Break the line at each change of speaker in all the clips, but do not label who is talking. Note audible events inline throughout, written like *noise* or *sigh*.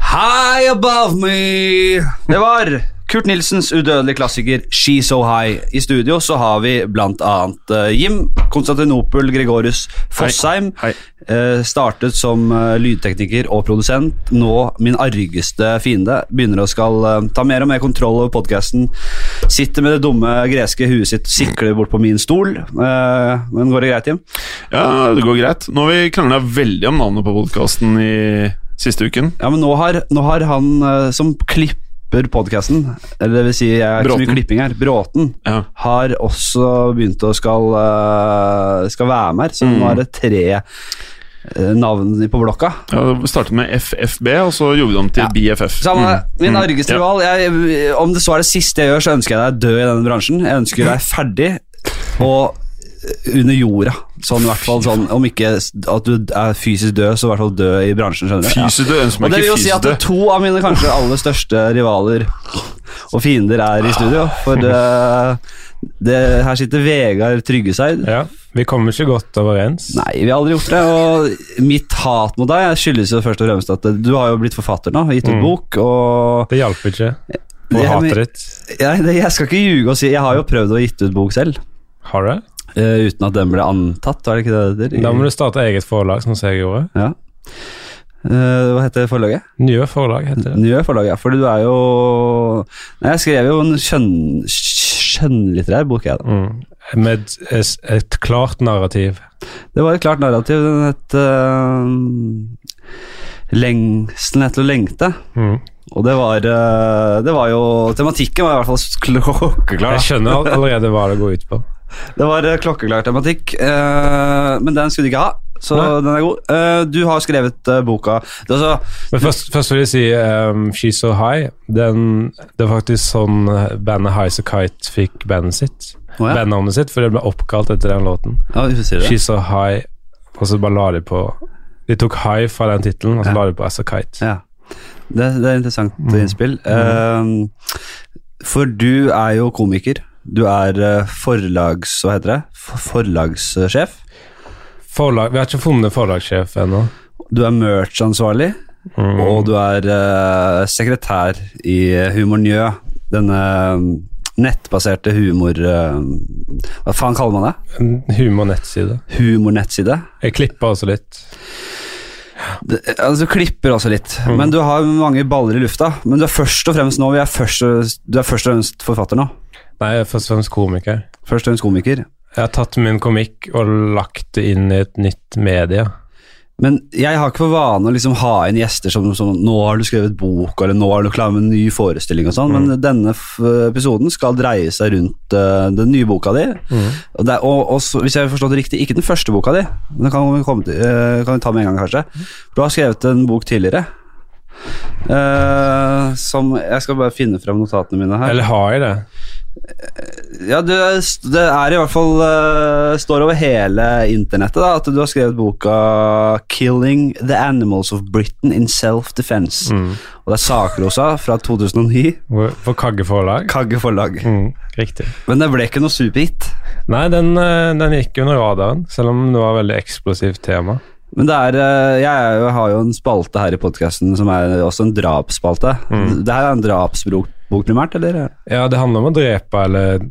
High above me! Det var Kurt Nilsens udødelige klassiker She So High. I studio så har vi blant annet eh, Jim Konstantinopel Gregorius Fossheim.
Hei,
Eh, startet som eh, lydtekniker og produsent. Nå min argeste fiende. Begynner å skal eh, ta mer og mer kontroll over podkasten. Sitter med det dumme greske huet sitt, sikler bort på min stol. Eh, men går det greit, Jim?
Ja, det går greit. Nå har vi krangla veldig om navnet på podkasten i siste uken.
Ja, men nå har, nå har han eh, som klipper podkasten, eller det vil si jeg er ikke så mye
Bråten.
klipping her, Bråten,
Ja.
har også begynt å skal, eh, skal være med her, så
Mm.
nå er det tre eh, navn på blokka.
Ja, det startet med FFB, og så gjorde vi det om til BFF.
Samme det.
Mm.
Min
Mm.
argeste
Ja.
rival. Jeg, om det så er det siste jeg gjør, så ønsker jeg deg død i denne bransjen. Jeg ønsker deg ferdig og eh, under jorda. Sånn i hvert fall sånn, Om ikke at du er fysisk død, så i hvert fall død i bransjen. skjønner du? Ja.
Fysisk død
Og
ønsker meg
det vil
ikke
jo si
fysisk
at
død.
to av mine kanskje aller største rivaler og fiender er i studio. For eh, det, her sitter Vegard Tryggeseid.
Ja, vi kommer ikke godt overens.
Nei, vi har aldri gjort det. Og mitt hat mot deg skyldes jo først og fremst at du har jo blitt forfatter nå,
Mm.
gitt ut bok, og
Det hjalp ikke. På
Det er
hatet
mye-
ditt.
jeg, det- jeg skal ikke ljuge og si Jeg har jo prøvd å gitt ut bok selv,
Har du det?
eh, uten at den ble antatt, var det ikke det det heter?
Da må du starte eget forlag, sånn som jeg gjorde.
Ja. Eh, hva heter forlaget?
Nye forlag heter det.
Nye forlag, ja. Fordi du er jo Nei, jeg skrev jo en skjønn- skjønnlitterær bok, jeg, da.
Mm. Med et, et klart narrativ.
Det var et klart narrativ. Den het eh, Lengsten etter å lengte.
Mm.
Og det var, eh, det var jo Tematikken var i hvert fall klokkeklar.
Jeg
da.
skjønner all- allerede hå det går ut på.
Det var eh, klokkeklar tematikk, eh, men den skulle du ikke ha. Så
Nei.
den er god. Eh, du har skrevet eh, boka det er altså,
Men først, først vil jeg si um, She's So High. Den, det er faktisk sånn eh, bandet High So Kite fikk bandet sitt.
Å ja.
Bandnavnet sitt, for det ble oppkalt etter den låten.
ja, du sier det.
She's So High, og så bare la de på De tok High fra den tittelen, og så la de på As A Kite.
Ja. Det, det er interessant innspill. Eh, for du er jo komiker. Du er eh, forlags... Hva heter det? For- Forlagssjef.
Forlag, vi har ikke funnet forlagssjef ennå.
Du er merch-ansvarlig,
Mm.
og du er eh, sekretær i eh, Humor Njø. Denne mm, nettbaserte humor... eh, hva faen kaller man det?
En humornettside.
Humornettside.
Jeg klipper også litt.
Det, altså, du klipper også litt, men du har mange baller i lufta. Men du er først og fremst nå, vi er først, og- du er først og fremst forfatter nå.
Nei, jeg er først og fremst komiker.
Først og fremst komiker.
Jeg har tatt min komikk og lagt det inn i et nytt medie.
Men jeg har ikke for vane å liksom ha inn gjester som, som 'nå har du skrevet bok', eller 'nå er du klar med en ny forestilling' og sånn, men denne f episoden skal dreie seg rundt eh, den nye boka di. Og, det, er- og, og så, hvis jeg har forstått det riktig, ikke den første boka di, men den kan vi, komme til, eh, kan vi ta med en gang, kanskje. Du har skrevet en bok tidligere. eh, som Jeg skal bare finne frem notatene mine her.
Eller har jeg det?
Ja, du, det er i hvert fall eh, Står over hele internettet da At du har skrevet boka Killing the Animals of Britain in Self-Defense Og det er sakrosa fra 2009
Hvor- På Kagge forlag?
Kagge forlag
Mm, riktig.
Men det ble ikke noe superhit
Nei, den, eh, den gikk under radaren, selv om det var et veldig eksplosivt tema.
Men det er eh, Jeg er jo, har jo en spalte her i podcasten Som er også en drapsspalte Det her er en drapsbok bok primært, eller? *laughs*
Ja, det handler om å drepe eller,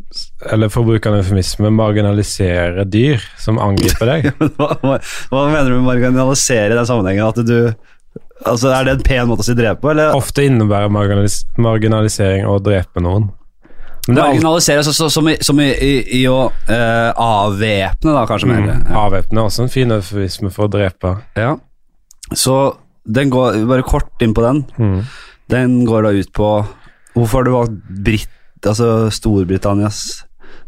eller for å bruke en eufemisme, marginalisere dyr som angriper deg.
*laughs* hva, hva, hva mener du med marginalisere i den sammenhengen? At du Altså, er det en pen måte å si drepe på, eller?
Ofte innebærer marginalis marginalisering å drepe noen. Men det er alltid
Marginalisere så, så, som, i, som i, i, i å eh, avvæpne, da, kanskje mer.
mm, avvæpne er også en fin eufemisme for å drepe.
Ja. Så den går Bare kort inn på den.
Mm.
Den går da ut på Hvorfor har du valgt Brit, altså Storbritannias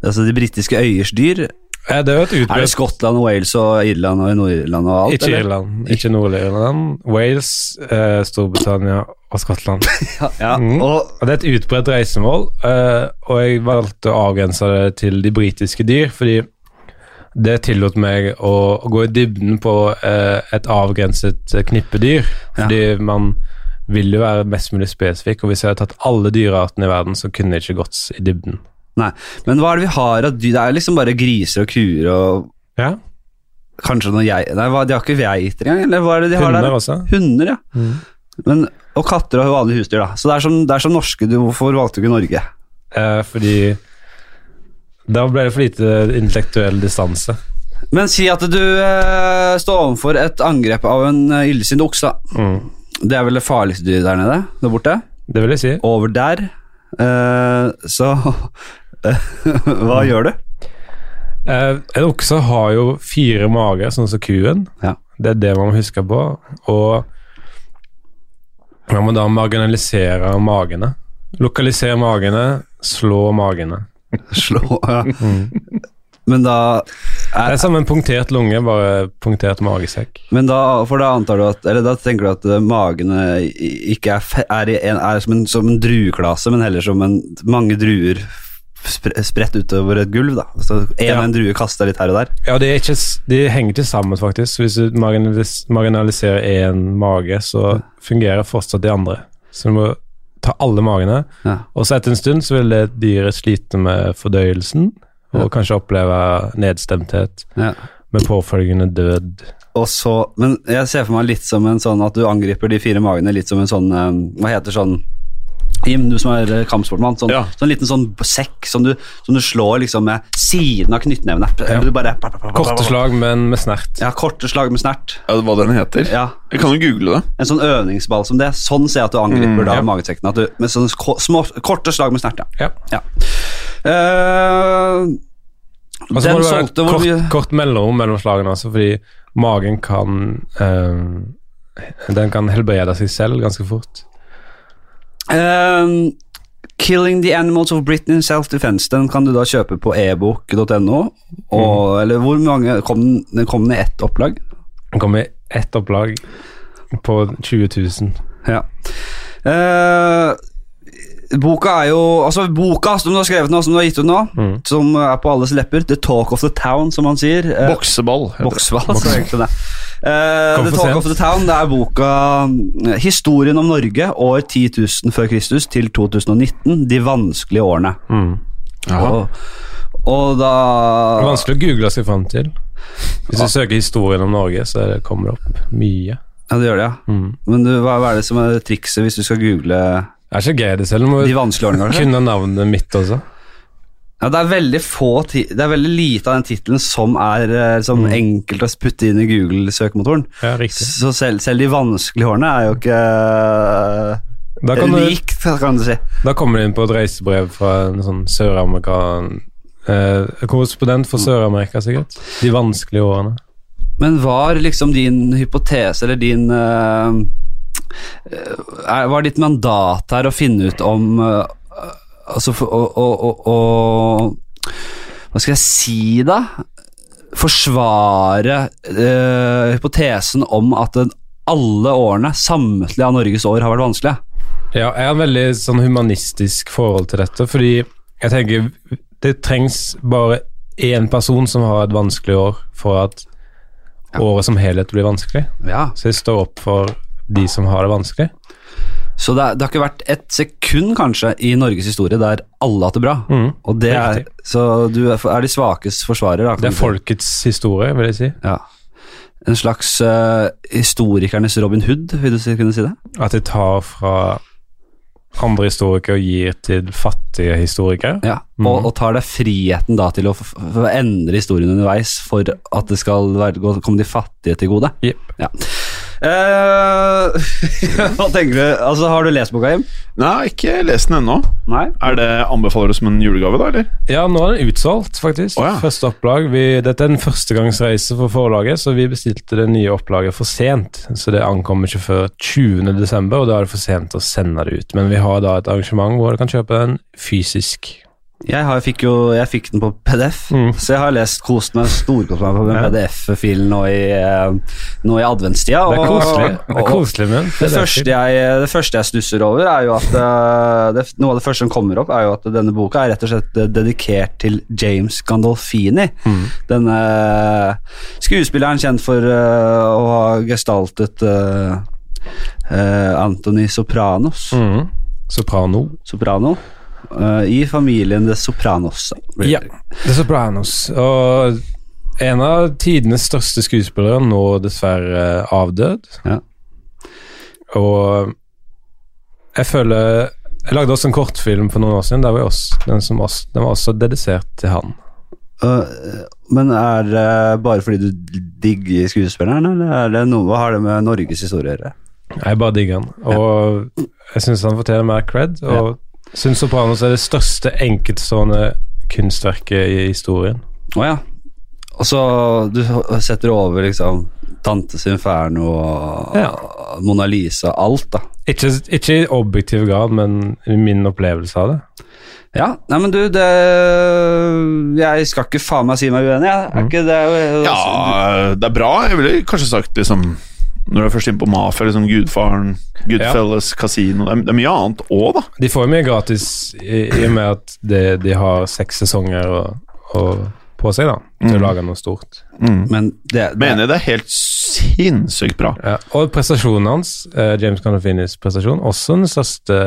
Altså de britiske øyers dyr?
Eh, Det er jo
Er
et
det
utbredt
Skottland og Wales og Irland og Nord-Irland og alt?
Ikke
eller?
Irland, ikke Nord-Irland. Wales, eh, Storbritannia og *laughs* Skottland.
Ja,
Mm.
og
Og Det er et utbredt reisemål, eh, og jeg valgte å avgrense det til de britiske dyr, fordi det tillot meg å, å gå i dybden på eh, et avgrenset eh, knippe dyr. Fordi man vil jo være mest mulig spesifikk, og hvis jeg hadde tatt alle dyreartene i verden, så kunne jeg ikke gått i dybden.
Nei. Men hva er det vi har av dyr? Det er liksom bare griser og kuer og
Ja,
Kanskje noen geit Nei, hva, de har ikke geiter engang? Eller hva er det de har
Hunder
der?
også.
Hunder, ja. Men, og katter og vanlige husdyr, da. Så det er som, det er som norske. Du, hvorfor valgte du ikke Norge?
Eh, fordi Da ble det for lite intellektuell distanse.
Men si at du eh, står overfor et angrep av en eh, illsint okse. da. Det er vel det farligste dyret der nede? Der borte?
Det vil jeg si.
Over der. Eh, så *laughs* Hva gjør du?
Eh, en okse har jo fire mager, sånn som kuen.
Ja.
Det er det man må huske på. Og man må da marginalisere magene. Lokalisere magene, slå magene.
Slå ja. Men da
Det er som en punktert lunge, bare punktert magesekk.
Men da, for da antar du at Eller da tenker du at eh, magene i- ikke er, fe- er, i en, er som, en, som en drueklase, men heller som en, mange druer spre, spredt utover et gulv, da. Så en
Ja.
og en drue kasta litt her og der.
Ja, de, er ikke, s- de henger ikke sammen, faktisk. Hvis du marginalis marginaliserer én mage, så fungerer fortsatt de andre. Så du må ta alle magene.
Ja.
Og så etter en stund så vil det dyret slite med fordøyelsen, og kanskje oppleve nedstemthet, med påfølgende død.
Og så, men jeg ser for meg litt som en sånn at du angriper de fire magene litt som en sånn eh, Hva heter sånn Jim, du som er eh, kampsportmann. Sånn,
Ja.
sånn liten sånn sekk som du, som du slår liksom med siden av knyttneven.
Ja.
Du bare
Korte slag, men med snert.
Ja, korte slag med snert.
Ja, hva den heter?
Ja,
Jeg kan jo google det.
En sånn øvingsball som det. Sånn ser jeg at du angriper
Mm,
da magesekken. At du, med sånne ko- små, korte slag med snert, ja.
Ja.
ja. Eh,
Og så
den
må det være
solgte hvor
kort,
mye
kort mellomrom mellom slagene også, fordi magen kan eh, Den kan helbrede seg selv ganske fort.
Ehm, Killing the Animals of Britain in Self-Defense Den kan du da kjøpe på ebook.no.
Mm.
og- Eller hvor mange Kom den, den kom den i ett opplag?
Den kom i ett opplag på 20 000.
Ja. Eh, boka er jo Altså, boka som du har skrevet nå, som du har gitt ut nå,
Mm.
som er på alles lepper, The Talk of the Town, som man sier. eh,
Bokseball. heter det.
Boksvall, så egentlig det. Eh,
Kom
The
for
Talk of
sent.
the Town det er boka eh, 'Historien om Norge år 10.000 før Kristus til 2019'. De vanskelige årene.
Jaha.
Og, og
Det
da
er vanskelig å google seg fram til. Hvis du søker historien om Norge, så er det- kommer det opp mye.
Ja, det gjør det, ja.
Mm.
Men du, hva hva er det som er trikset hvis du skal google
Det er ikke gøy det selv, du må
de
jo
vanskelige årene, kanskje?
kunne navnet mitt også.
Ja, det er veldig få ti Det er veldig lite av den tittelen som er eh, liksom, enkelt å putte inn i Google-søkemotoren.
Mm. Ja, riktig.
Så selv, selv de vanskelige årene er jo ikke
Da,
eh,
kan du,
likt, kan du si.
da kommer du inn på et reisebrev fra en sånn søramerikan eh, Korrespondent for Sør-Amerika, sikkert. De vanskelige årene.
Men var liksom din hypotese eller din eh, eh, Var ditt mandat her å finne ut om eh, Altså for- å, å, å, å Hva skal jeg si, da? Forsvare eh, hypotesen om at den, alle årene, samtlige av Norges år, har vært vanskelige.
Ja, jeg har en veldig sånn humanistisk forhold til dette, fordi jeg tenker det trengs bare én person som har et vanskelig år, for at året som helhet blir vanskelig.
Ja.
Så jeg står opp for de som har det vanskelig.
Så det, er- det har ikke vært et sekund, kanskje, i Norges historie der alle har hatt det bra. Og Mm. det er,
riktig.
så du er, er de svakes forsvarer, da. kan
Det
du
er
si.
folkets historie, vil jeg si.
Ja. En slags eh, historikernes Robin Hood, vil du si- kunne si det?
At jeg tar fra andre historikere og gir til fattige historikere.
Ja.
Mhm.
Og, og tar deg friheten da til å f f endre historien underveis for at det skal være, gå, komme de fattige til gode.
Jep.
Ja. Eh, *laughs* hva tenker du? Altså, har du lest boka, Jim?
Nei, jeg har ikke lest den ennå.
Nei.
Er det anbefaler du som en julegave, da, eller?
Ja, nå er den utsolgt, faktisk.
Å, ja.
Første opplag. Vi, dette er en førstegangsreise for forlaget, så vi bestilte det nye opplaget for sent. Så det ankommer ikke før 20. desember, og da er det for sent å sende det ut. Men vi har da et arrangement hvor du kan kjøpe den fysisk.
Jeg, har, fikk jo, jeg fikk den på PDF,
Mm.
så jeg har lest kost meg storkost meg med
Ja.
PDF-filen nå i, eh, nå i adventstida.
Det er
og-
koselig. Det er
og-
koselig men
Det første, jeg, det første jeg stusser over, er jo at eh, det, Noe av det første som kommer opp, er jo at denne boka er rett og slett eh, dedikert til James Gandolfini.
Mm.
Denne skuespilleren kjent for eh, å ha gestaltet eh, eh, Anthony Sopranos.
Mhm. Soprano.
Soprano. eh, I familien The Sopranos.
Ja, The Sopranos. Og en av tidenes største skuespillere, nå dessverre avdød.
Ja.
Og jeg føler Jeg lagde også en kortfilm for noen år siden. Der var jeg også, den, som også, den var også dedisert til han.
Øh, men er det bare fordi du digger skuespilleren, eller er det noe, hva har det med Norges historie å gjøre?
Jeg bare digger han. Og jeg syns han fortjener mer cred. Og syns Sopranos er det største enkeltstående kunstverket i historien.
Å ja. Og så du setter over liksom Tantes Inferno og
Ja.
Mona Lisa, alt, da.
Ikke, ikke i objektiv grad, men i min opplevelse av det.
Ja, nei, men du, det Jeg skal ikke faen meg si meg uenig, jeg. Er ikke det altså,
Ja, Altså, det er bra. Jeg ville kanskje sagt liksom Når du er først inne på mafia, liksom Gudfaren, Goodfellas, Casino Det er- det er mye annet òg, da.
De får jo mye gratis i, i og med at de, de har seks sesonger og, og på seg da, til å lage noe stort.
Men det, det
Mener jeg det er helt sinnssykt bra.
Ja. Og prestasjonen hans, eh, James Gandolfinis prestasjon, også den største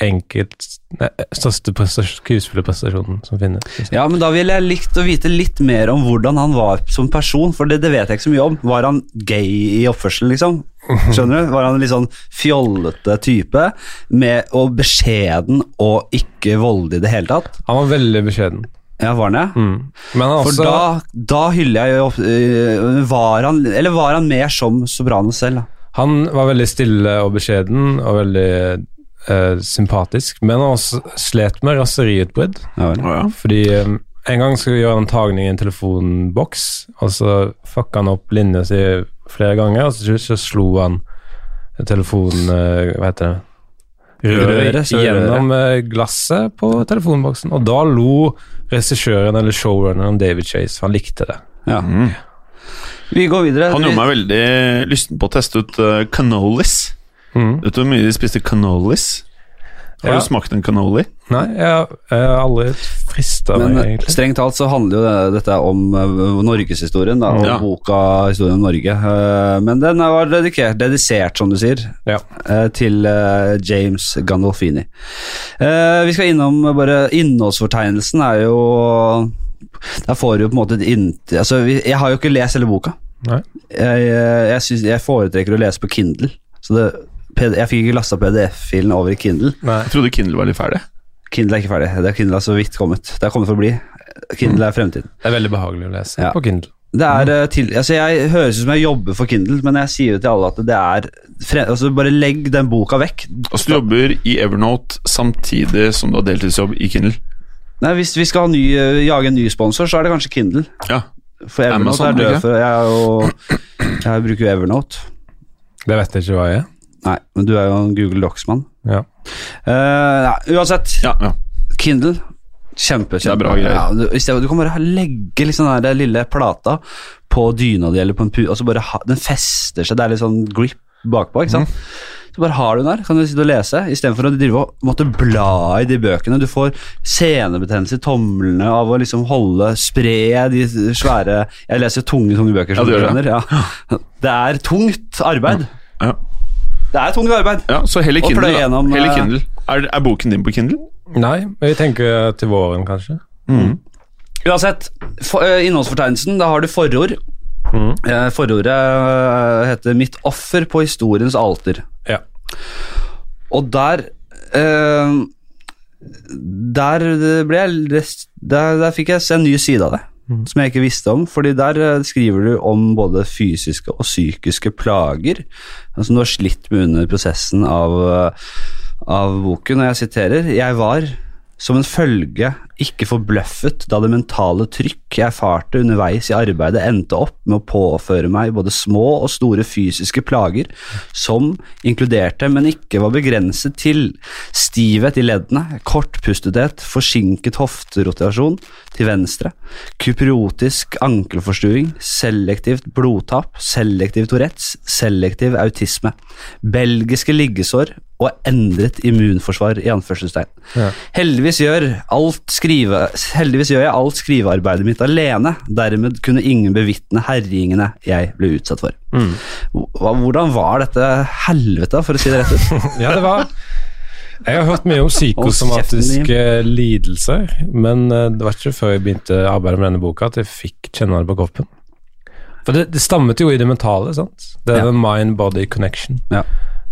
enkelt, nei, største prestas- skuespillerprestasjonen som finnes. synes jeg.
Ja, men da ville jeg likt å vite litt mer om hvordan han var som person, for det, det vet jeg ikke så mye om. Var han gay i oppførselen, liksom? Skjønner du? Var han en litt sånn fjollete type, med, og beskjeden og ikke voldelig i det hele tatt?
Han var veldig beskjeden.
Ja, var han det?
Mm. Men han
For
også,
da, da hyller jeg jo opp- øh, var han, Eller var han mer som Sobrano selv? da?
han var veldig stille og beskjeden, og veldig eh, sympatisk, men han også slet med raseriutbrudd.
Ja, vel.
Å, ja.
Fordi um, en gang skulle vi gjøre en tagning i en telefonboks, og så fucka han opp linja si flere ganger, og så til slutt så slo han telefonen eh, Hva heter det?
Røret,
Røret
så
gjennom eh, glasset på telefonboksen. Og da lo regissøren eller showrunneren David Chase, for han likte det.
Ja.
Mm.
Vi går videre.
Han gjorde meg veldig lysten på å teste ut eh, cannolis.
Mhm.
Vet du hvor mye de spiste cannolis? Har
Ja.
du smakt en cannoli?
Nei, jeg jeg har aldri frista meg,
Men eh,
egentlig.
strengt talt så handler jo det- dette om eh, norgeshistorien, da, og
Ja.
boka historien om Norge. Eh, Men den var dedikert, dedisert, som du sier,
Ja.
eh, til eh, James Gandolfini. Eh, Vi skal innom eh, bare Innholdsfortegnelsen er jo Der får du på en måte et inntil altså, vi- Jeg har jo ikke lest hele boka.
Nei.
Jeg, eh, jeg, synes, jeg foretrekker å lese på Kindle. Så det, P- jeg fikk ikke lasta PDF-filen over i Kindle.
Nei.
Jeg trodde Kindle var litt ferdig.
Kindle er ikke ferdig. Det er Kindle er så vidt kommet. Det er kommet for å bli. Kindle er fremtiden.
Det er veldig behagelig å lese
Ja.
på Kindle.
Det er eh, til, altså Jeg høres ut som jeg jobber for Kindle, men jeg sier jo til alle at det er fre, altså Bare legg den boka vekk.
Altså, du jobber i Evernote samtidig som du har deltidsjobb i Kindle.
Nei, Hvis vi skal ha ny, eh, jage en ny sponsor, så er det kanskje Kindle.
Ja.
For Evernote
Amazon,
er død
ikke?
for jeg, er jo, jeg bruker jo Evernote.
Det vet jeg ikke hva jeg er.
Nei, men du er jo en Google Docs-mann.
Ja.
Eh, nei, uansett,
Ja, ja.
Kindle. Kjempe,
er
kjempe.
bra greier.
Ja, du, i stedet, du kan bare ha- legge liksom den der lille plata på dyna di eller på en pu... Altså bare ha, den fester seg, det er litt sånn grip bakpå, ikke
Mhm.
sant. Så bare har du den der, kan du sitte og lese, istedenfor å drive og måtte bla i de bøkene. Du får senebetennelse i tomlene av å liksom holde Spre de svære Jeg leser jo tunge, tunge bøker, som
Ja,
du
du gjør
skjønner.
*laughs*
Ja. Det er tungt arbeid.
ja.
Det er tungt arbeid.
ja så heller
Og
Kindle.
pløy
da.
gjennom,
Heller
eh,
Kindle. Er, er boken din på Kindle?
Nei, men vi tenker til våren, kanskje.
Uansett, for, ø, innholdsfortegnelsen, da har du forord. Eh, forordet ø, heter 'Mitt offer på historiens alter'.
Ja.
Og der ø, Der ble jeg rest- der, der fikk jeg se en ny side av det. Som jeg ikke visste om, fordi der ø, skriver du om både fysiske og psykiske plager. Altså du har slitt med under prosessen av, ø, av boken, og jeg siterer Jeg var som en følge ikke forbløffet da det mentale trykk jeg erfarte underveis i arbeidet endte opp med å påføre meg både små og store fysiske plager som inkluderte, men ikke var begrenset til, stivhet i leddene, kortpustethet, forsinket hofterotasjon til venstre, kupriotisk ankelforstuing, selektivt blodtap, selektiv Tourettes, selektiv autisme, belgiske liggesår og endret immunforsvar, i anførselstegn.
Ja.
Heldigvis gjør, alt skrive, heldigvis gjør jeg alt skrivearbeidet mitt alene. Dermed kunne ingen bevitne herjingene jeg ble utsatt for. Hva- Hvordan var dette helvete, for å si det rett ut?
Ja, det var Jeg har hørt mye om
Hold
psykosomatiske eh, lidelser, men eh, det var ikke før jeg begynte arbeidet med denne boka at jeg fikk kjenne det på kroppen. For det, det stammet jo i det mentale, sant? Det er
Ja.
den mind-body connection.
Ja.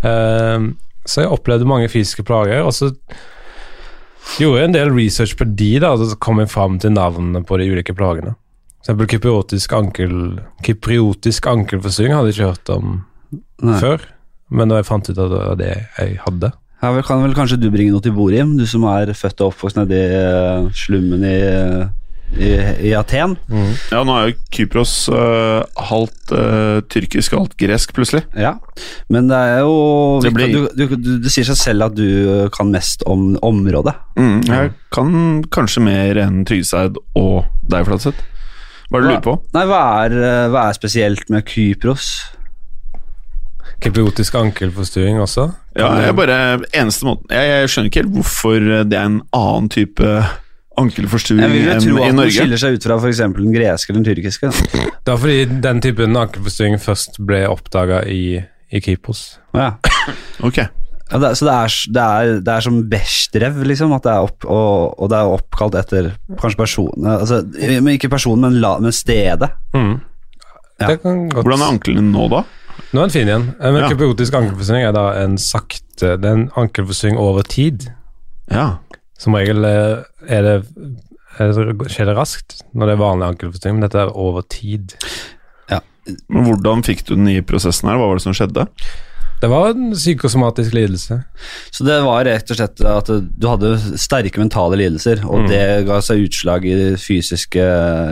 Eh, så jeg opplevde mange fysiske plager, og så gjorde jeg en del research på de, da, og så kom jeg fram til navnene på de ulike plagene. For eksempel kypriotisk, ankel, kypriotisk ankelforsyning hadde jeg ikke hørt om
Nei.
før, men da jeg fant ut at det var det jeg hadde.
Her vel- kan vel kanskje du bringe noe til bordet, Jim? Du som er født og oppvokst nedi eh, slummen i, i, i Aten.
Ja, nå er jo Kypros eh, halvt eh, tyrkisk, halvt gresk, plutselig.
Ja. Men det er jo
Det blir-
du, du, du, det sier seg selv at du eh, kan mest om området.
Mm, jeg kan kanskje mer enn Tryggeseid og deg, Flatseth. Hva er det du lurer på?
Nei, hva er, eh, hva er spesielt med Kypros?
Kypriotisk ankelforstyrring også.
Ja, jeg bare, eneste måten jeg, jeg skjønner ikke helt hvorfor eh, det er en annen type
Jeg vil
ankelforstyrring
jo
enn
tro
i
at den
Norge.
skiller seg ut fra f.eks. den greske eller den tyrkiske. da.
Det var fordi den typen ankelforstyrring først ble oppdaga i, i Kypros.
Ja.
Ok,
Ja, det, er- så det er, det er, det er som Bechdrev, liksom, at det er opp, og, og det er oppkalt etter kanskje personen altså, men Ikke personen, men, la, men stedet.
Mm.
Ja.
Det kan godt
Hvordan er anklene nå, da?
Nå er den fin igjen. Eh, Men
Ja.
kypriotisk ankelforsyning er da en sakte Det er en ankelforsyning over tid.
Ja,
Som regel eh, er det er det- skjer det raskt når det er vanlig ankelforsyning, men dette er over tid.
men Hvordan fikk du den i prosessen her? Hva var det som skjedde?
Det var en psykosomatisk lidelse.
Så det var rett og slett at du hadde sterke mentale lidelser, og
Mm.
det ga seg utslag i det fysiske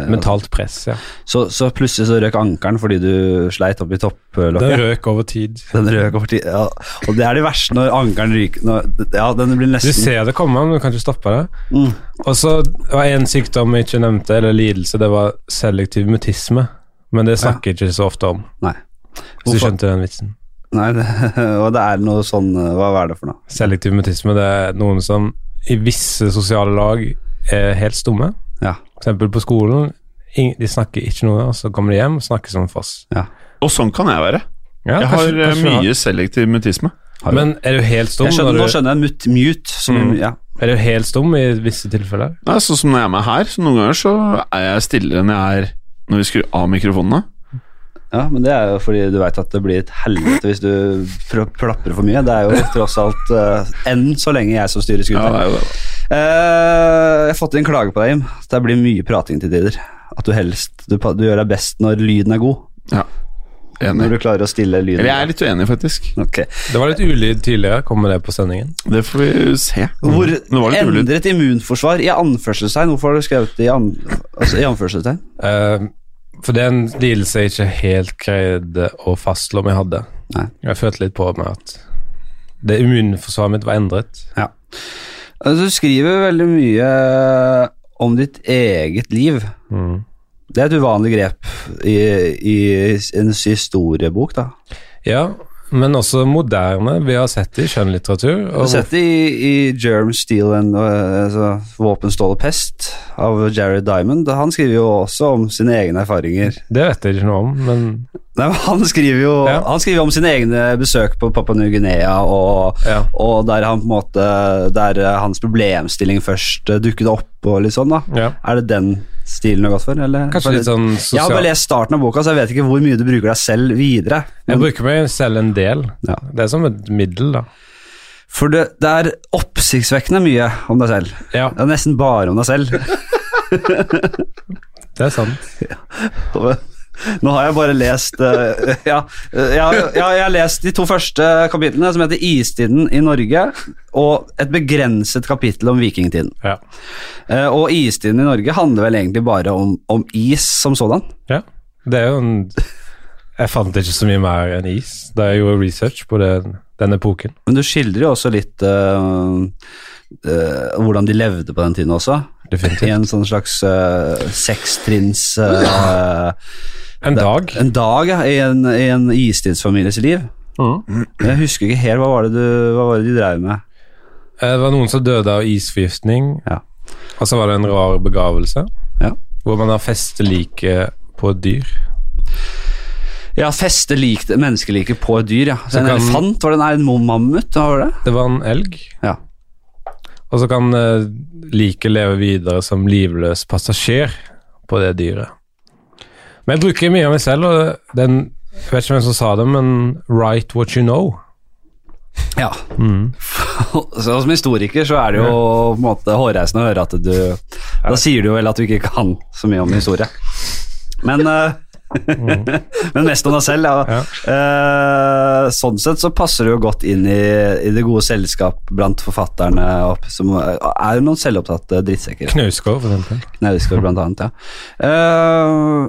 Mentalt press, ja.
så, så plutselig så røk ankelen fordi du sleit opp i
Den
topplokket.
røk over tid.
*laughs* Den røk over tid, ja. Og det er det verste når ankelen ryker når, Ja, den blir
Du
nesten
ser det komme, men du kan ikke stoppe det.
Mm.
Og så var en sykdom jeg ikke nevnte, eller lidelse, det var selektiv mutisme. Men det snakker jeg ikke så ofte om,
Nei.
hvis du
Hvorfor?
skjønte den vitsen.
Nei det, *laughs* og det er noe sånn Hva er det for noe?
Selektiv mutisme det er noen som i visse sosiale lag er helt stumme.
Ja.
For eksempel på skolen. ing- De snakker ikke noe, og så kommer de hjem og snakker som en foss.
ja.
Og sånn kan jeg være.
Ja,
Jeg har
kanskje-
eh,
kanskje du
mye selektiv mutisme.
har-
Men er du helt stum?
Jeg skjønner, nå
når du,
skjønner jeg mut, mute. Som,
Mm.
ja.
er du helt stum i visse tilfeller?
Nei, sånn som når jeg er med her, så noen ganger så er jeg stillere enn jeg er når vi skrur av mikrofonene.
ja, men det er jo fordi du veit at det blir et helvete hvis du pr- plaprer for mye. Det er jo tross alt eh, enn så lenge jeg som styrer skuta.
Ja, det er jo det.
Eh, jeg har fått inn klage på deg, Jim. At Det blir mye prating til tider. At du helst Du, pa- du gjør deg best når lyden er god.
Enig.
Når du klarer å stille lyden.
Eller jeg er litt uenig, faktisk.
Ok.
Det var litt ulyd tidligere. Kommer det på sendingen?
Det får vi se.
Hvor
det var litt ulyd.
endret immunforsvar i anførselstegn? Hvorfor har du skrevet det i, an, altså, i anførselstegn?
Eh, for det er en lidelse jeg ikke helt greide å fastslå om jeg hadde.
Nei.
Jeg følte litt på meg at det immunforsvaret mitt var endret.
Altså, du skriver veldig mye eh, om ditt eget liv.
Mm.
Det er et uvanlig grep i, i en historiebok, da.
Ja, men også moderne. Vi har sett det i skjønnlitteratur.
Har du
Og
sett det i, i Germ, Steel and øh, altså, Våpen, stål og pest av Jared Diamond? Han skriver jo også om sine egne erfaringer.
Det vet jeg ikke noe om, men
Nei, men Han skriver jo
Ja.
Han skriver om sine egne besøk på Papua Ny-Guinea, og,
ja.
og der han på en måte Der øh, hans problemstilling først øh, dukket opp og litt sånn, da.
ja.
Er det den stilen du har gått for, eller?
Kanskje litt sånn
Jeg har
sosial...
bare lest starten av boka, så jeg vet ikke hvor mye du bruker deg selv videre.
Jeg bruker meg selv en del.
Ja.
Det er som et middel, da.
For det, det er oppsiktsvekkende mye om deg selv.
Ja,
Det er nesten bare om deg selv.
det er sant.
Nå har jeg bare lest eh, *laughs* ja, eh, ja, ja, jeg har lest de to første kapitlene, som heter 'Istiden i Norge', og et begrenset kapittel om vikingtiden.
Ja.
Eh, og istiden i Norge handler vel egentlig bare om, om is som sådan.
ja. Det er jo en Jeg fant ikke så mye mer enn is da jeg gjorde research på den, den epoken.
Men du skildrer jo også litt eh, eh, hvordan de levde på den tiden også. I
Definitivt.
en sånn slags uh, sekstrins eh,
En dag.
En dag ja, i en, i en istidsfamilies liv.
Mhm.
Jeg husker ikke helt hva var det, du, hva var det de drev med.
Eh, Det var noen som døde av isforgiftning,
Ja.
og så var det en rar begravelse
Ja.
hvor man har festeliket på et dyr.
Ja, feste likt, menneskeliket på et dyr, ja. Så
Så
en
kan-
elefant, var det nei, en mo- mammut? Hva var det?
Det var en elg.
Ja.
Og så kan uh, liket leve videre som livløs passasjer på det dyret. Men jeg bruker mye av meg selv, og den, jeg vet ikke hvem som sa det, men write what you know.
Ja. Mm. *laughs* så som historiker så er det jo på en måte hårreisende å høre at du Da sier du jo vel at du ikke kan så mye om historie. Men eh, *laughs* Men mest om deg selv. Mm. Ja. Eh, sånn sett så passer du jo godt inn i, i det gode selskap blant forfatterne, opp, som er jo noen selvopptatte drittsekker.
Knausgård, for eksempel.
Knausgård, blant annet. Ja. Eh,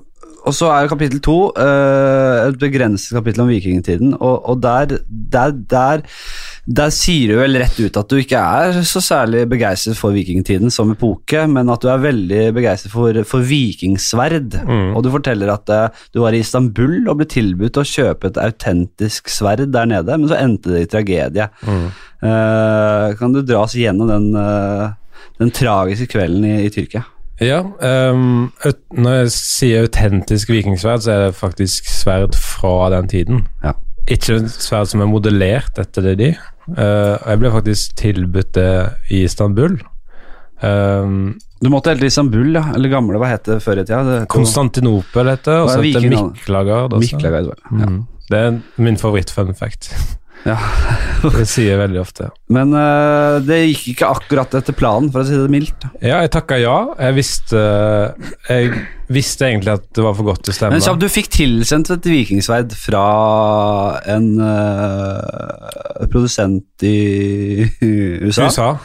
og så er jo kapittel to eh, et begrenset kapittel om vikingtiden, og, og der, der, der der sier du vel rett ut at du ikke er så særlig begeistret for vikingtiden som epoke, men at du er veldig begeistret for, for vikingsverd. Og du forteller at eh, du var i Istanbul og ble tilbudt å kjøpe et autentisk sverd der nede, men så endte det i tragedie. Eh, kan du dra oss gjennom den, eh, den tragiske kvelden i, i Tyrkia?
Ja, ehm, ut, når jeg sier autentisk vikingsverd, så er det faktisk sverd fra den tiden.
Ja.
Ikke sverd som er modellert etter det de. Eh, og jeg ble faktisk tilbudt det i Istanbul. Ehm,
Du måtte helt til Istanbul, ja. Eller gamle, hva het det før i tida? Det het jo-
Konstantinopel heter det, og
Hva er
så heter det
vikingnavnet?
Miklagard. også.
Miklagard, ja.
Mm. Det er min favoritt-fun fact.
Ja.
Det sier jeg veldig ofte.
Men eh, det gikk ikke akkurat etter planen, for å si det mildt.
Ja, jeg takka ja. Jeg visste, eh, jeg visste egentlig at det var for godt til å stemme.
Men Sjab, du fikk tilsendt et vikingsverd fra en eh, produsent i *laughs* USA.
USA.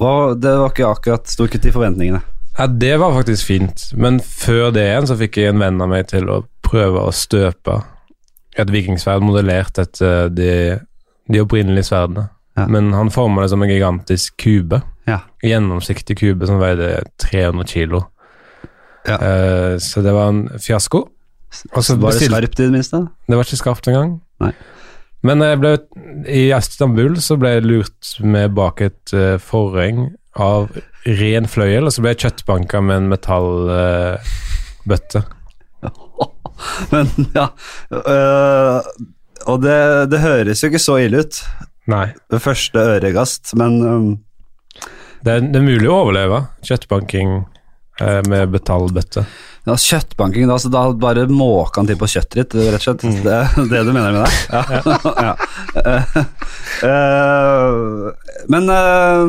Og det var ikke akkurat sto ikke til forventningene.
Ja, det var faktisk fint. Men før det igjen så fikk jeg en venn av meg til å prøve å støpe et vikingsverd modellert etter eh, de, de opprinnelige sverdene.
Ja.
Men han forma det som en gigantisk kube.
Ja.
En Gjennomsiktig kube som veide 300 kilo.
Ja.
Eh, så det var en fiasko. Og så
Var det
bestilte-
skarpt i det minste?
Det var ikke skarpt engang.
Nei.
Men jeg ble, i Istanbul så ble jeg lurt med bak et eh, forheng av ren fløyel, og så ble jeg kjøttbanka med en metallbøtte.
*laughs* Men ja eh, Og det, det høres jo ikke så ille ut
Nei.
ved første øregast, men um,
Det er, det er mulig å overleve kjøttbanking eh, med metallbøtte.
ja, kjøttbanking da, så da bare måker han til på kjøttet ditt, rett og slett. Det er det du mener med det? Ja. ja. *laughs* Eh, eh, men eh,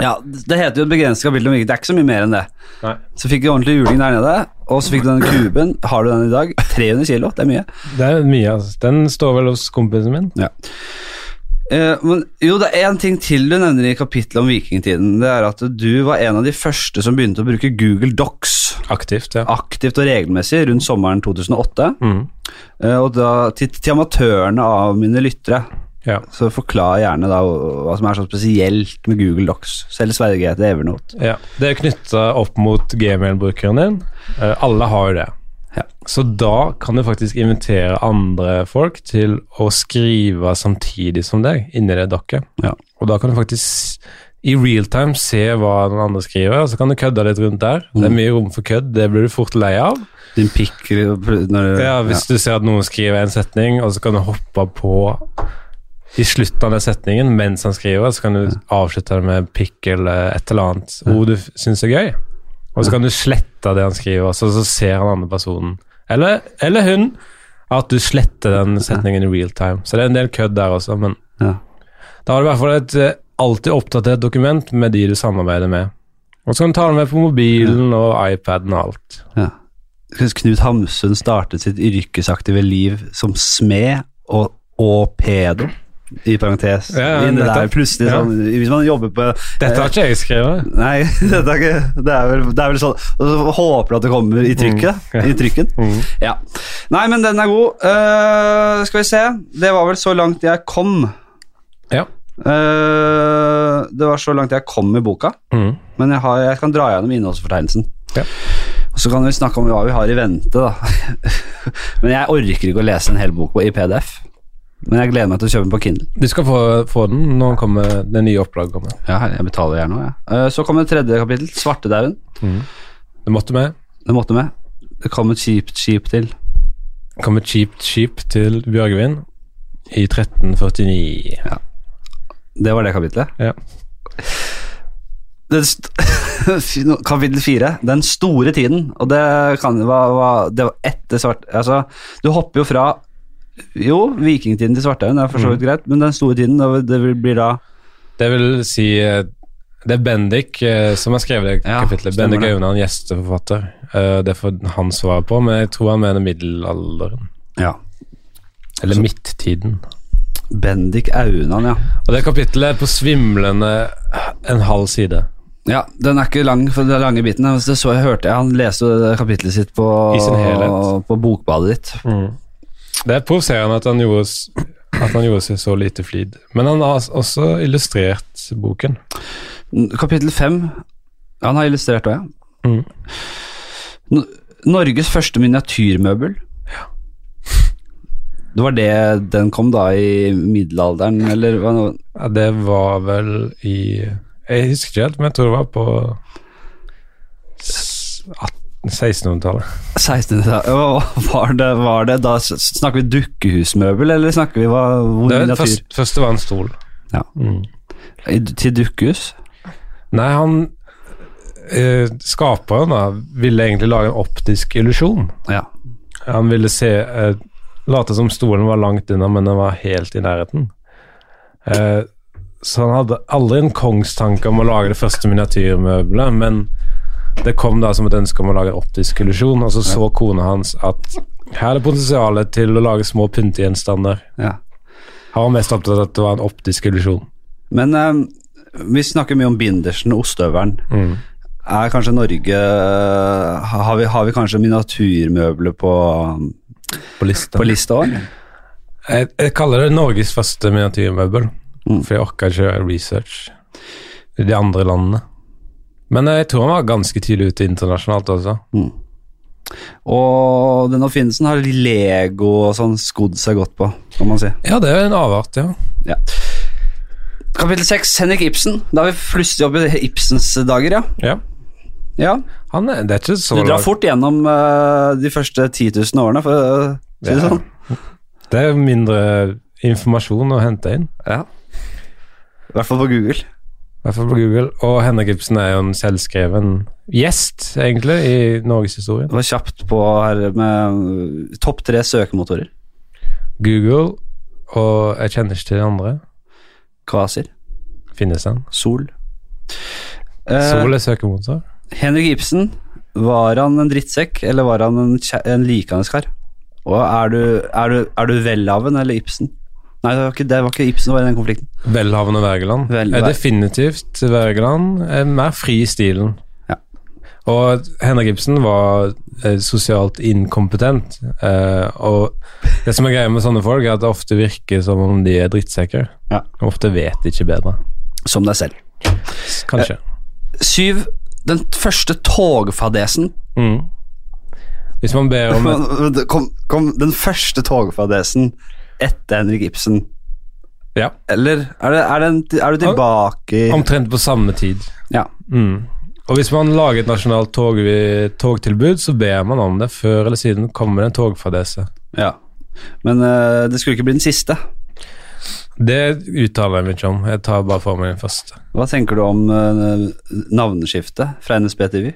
ja, det heter jo et begrenset kapittel om ikke, det er ikke så mye mer enn det.
Nei.
Så fikk du ordentlig juling der nede, og så fikk du den kuben. Har du den i dag? 300 kilo, det er mye.
Det er mye, altså. Den står vel hos kompisen min.
Ja. Eh, men jo, det er én ting til du nevner i kapittelet om vikingtiden. Det er at du var en av de første som begynte å bruke Google Docs
Aktivt, ja.
aktivt og regelmessig rundt sommeren 2008.
Mm.
Eh, og da til, til amatørene av mine lyttere,
ja.
så forklar gjerne da hva som er så spesielt med Google Docs. Selv Sverige heter Evernote.
Ja, Det er knytta opp mot gmail-brukeren din. Eh, alle har jo det.
Ja.
Så da kan du faktisk invitere andre folk til å skrive samtidig som deg inni det dokket.
Ja.
Og da kan du faktisk s- i real time se hva den andre skriver, og så kan du kødde litt rundt der. Det
Mm.
er mye rom for kødd, det blir du fort lei av.
Din pikk eh, når du
Ja, hvis du ser at noen skriver en setning, og så kan du hoppe på i slutten av den setningen mens han skriver, så kan du avslutte det med pikk eller et eller annet ord du syns er gøy. Og så kan du slette det han skriver, så, så ser han andre personen. Eller, eller hun. At du sletter den setningen i real time. Så det er en del kødd der også, men
Ja.
da har du i hvert fall et eh, alltid oppdatert dokument med de du samarbeider med. Og så kan du ta den med på mobilen og iPaden og alt.
Ja. Knut Hamsun startet sitt yrkesaktive liv som smed og, og pedo, i parentes.
Ja, ja,
Inni der,
nettopp.
plutselig
Ja.
sånn, Hvis man jobber på Eh,
Dette har ikke jeg skrevet.
Nei, *laughs* dette er ikke, det, er vel, det er vel sånn Og så håper du at det kommer i trykket.
Mm, ja.
I trykken. Ja. Nei, men den er god. Eh, skal vi se. Det var vel så langt jeg kom.
Ja.
Eh, det var så langt jeg kom i boka,
Mm.
men jeg, har, jeg kan dra gjennom innholdsfortegnelsen.
Ja.
Og Så kan vi snakke om hva vi har i vente, da. *laughs* men jeg orker ikke å lese en hel bok på- i PDF. Men jeg gleder meg til å kjøpe den på Kindle.
Du skal få, få den når den kommer, det nye opplaget kommer.
Ja, jeg betaler gjerne òg, jeg. Eh, så kom det tredje kapittel, Svartedauden.
Det måtte med.
Det måtte med. Det kom et kjipt skip til.
Kom et kjipt skip til Bjørgvin i 1349.
Det var det kapitlet.
Ja.
Den st *laughs* Fy, nå, kapittel fire, den store tiden, og det kan hva, hva, Det var etter svart Altså, du hopper jo fra Jo, vikingtiden til Svartøyen er for så vidt greit, men den store tiden, det det vil- blir da
Det vil si eh, Det er Bendik eh, som har skrevet det
Ja,
kapitlet.
stemmer
Bendik
det.
Aunan, gjesteforfatter. Eh, Det får han svaret på, men jeg tror han mener middelalderen.
Ja.
Eller midttiden.
Bendik Aunan, ja.
Og det kapittelet er på svimlende en halv side.
Ja, Den er ikke lang, for den lange biten. men Det så jeg hørte jeg. Han leste jo det kapitlet sitt på,
I sin helhet.
på bokbadet ditt.
Det er provoserende at han gjorde s- at han gjorde seg så lite flid. Men han har også illustrert boken.
Kapittel fem ja, Han har illustrert òg, ja.
Mhm.
No- Norges første miniatyrmøbel. Det var det den kom da i middelalderen, eller hva nå?
Ja, det var vel i Jeg husker ikke helt, men jeg tror det var på s- atten- 1600-tallet.
1600-tallet? Hva Var, det- var det da s- Snakker vi dukkehusmøbel, eller snakker vi hva, hvor
Det
miniatyr?
første, første var en stol.
Ja.
Mm.
I- Til dukkehus?
Nei, han eh, Skaperen da ville egentlig lage en optisk illusjon.
Ja.
Han ville se eh, Late som stolen var langt unna, men den var helt i nærheten. Eh, så han hadde aldri en kongstanke om å lage det første miniatyrmøbelet, men det kom da som et ønske om å lage en optisk illusjon, og så så kona hans at her er det potensialet til å lage små pyntegjenstander.
ja.
Han var mest opptatt av at det var en optisk illusjon.
Men eh, vi snakker mye om bindersen og ostehøvelen.
Mm.
Er kanskje Norge eh, Har vi, har vi kanskje miniatyrmøbler på,
På lista.
på lista òg?
Jeg, jeg kaller det Norges første miniatyrmøbel,
Mm.
for jeg orka ikke gjøre research i de andre landene. Men jeg tror han var ganske tidlig ute internasjonalt også.
Og denne oppfinnelsen har Lego og sånn skodd seg godt på, kan man si.
Ja, det er en avart, ja.
Ja. Kapittel seks, Henrik Ibsen. Da er vi plutselig oppe i Ibsens dager, ja.
ja.
ja.
Han er, det er ikke så
Du drar
langt.
fort gjennom eh, de første 10 000 årene, for å si det
Ja.
sånn.
Det er mindre informasjon å hente inn,
Ja. I hvert fall på Google.
i hvert fall på Google. Og Henrik Ibsen er jo en selvskreven gjest, egentlig, i norgeshistorien.
Det var kjapt på her med topp tre søkemotorer.
Google, og jeg kjenner ikke til de andre.
Kvasir,
Finnes den?
Sol. Eh,
Sol er søkemotor.
Henrik Ibsen, var han en drittsekk, eller var han en, kjæ- en likende kar? Og er du, er du, er du Welhaven eller Ibsen? Nei, det var ikke, det var ikke Ibsen som var i den konflikten.
Velhavende Wergeland.
Vel-
er definitivt Wergeland. Er mer fri i stilen.
Ja.
Og Henrik Ibsen var eh, sosialt inkompetent. Eh, og det som er greia med sånne folk, er at det ofte virker som om de er drittsekker.
Ja.
Og ofte vet de ikke bedre.
Som deg selv.
Kanskje.
Syv. Den første togfadesen.
Mm. Hvis man
*laughs*
ber om et
Kom, kom, den første togfadesen etter Henrik Ibsen.
Ja,
Eller er, det, er, det en, er du tilbake i
omtrent på samme tid.
Ja.
Mm. Og hvis man lager et nasjonalt tog, togtilbud, så ber man om det. Før eller siden kommer det en togfadese.
ja. Men eh, det skulle ikke bli den siste.
Det uttaler jeg meg ikke om. Jeg tar bare for meg den første.
Hva tenker du om eh, navneskiftet fra NSB TV?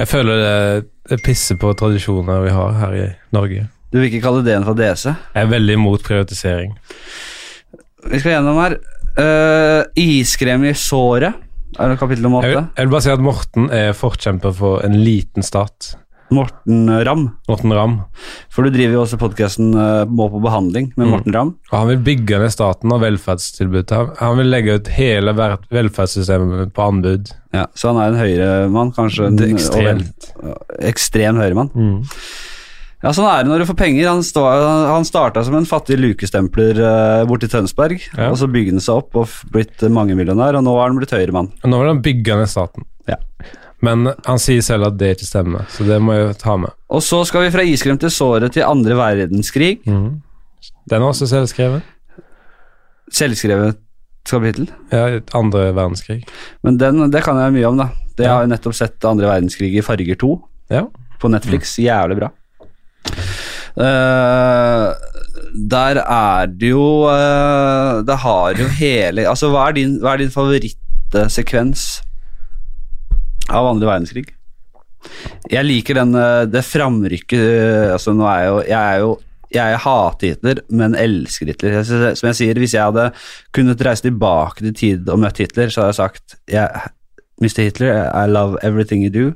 Jeg føler det, det pisser på tradisjoner vi har her i Norge.
Du vil ikke kalle det en fadese?
Jeg er veldig imot privatisering.
Vi skal gjennom her. Uh, iskrem i såret er det kapittel om
Jeg vil,
åtte.
jeg vil bare si at Morten er forkjemper for en liten stat.
Morten Ramm.
Morten Ramm.
For du driver jo også podkasten Må på behandling
Mm.
med Morten Ramm.
Og han vil bygge ned staten og velferdstilbudet. Han, han vil legge ut hele ver velferdssystemet på anbud.
Ja, så han er en høyremann, kanskje. En,
Det er ekstremt.
og vel- ekstrem høyremann. Ja, sånn er det når du får penger. Han, stå, han starta som en fattig lukestempler eh, borte i Tønsberg,
Ja.
og så bygde han seg opp og f- blitt eh, mangemillionær, og nå er han blitt høyremann.
Og nå vil han bygge ned staten.
Ja.
Men han sier selv at det ikke stemmer, så det må jeg ta med.
Og så skal vi fra iskrem til såret til andre verdenskrig.
Den er også selvskrevet.
Selvskrevet kapittel.
Ja, andre verdenskrig.
Men den, det kan jeg mye om, da. Det har jeg nettopp sett andre verdenskrig i Farger 2
Ja.
på Netflix. Jævlig bra. Eh, der er det jo eh, Det har jo hele Altså, hva er din, hva er din favorittsekvens av andre verdenskrig? Jeg liker den, eh, det framrykket eh, Altså, nå er jeg jo Jeg er jo Jeg hater Hitler, men elsker Hitler. Jeg synes- Som jeg sier, Hvis jeg hadde kunnet reise tilbake til tid og møtt Hitler, så hadde jeg sagt jeg, Mr. Hitler, I love everything you do.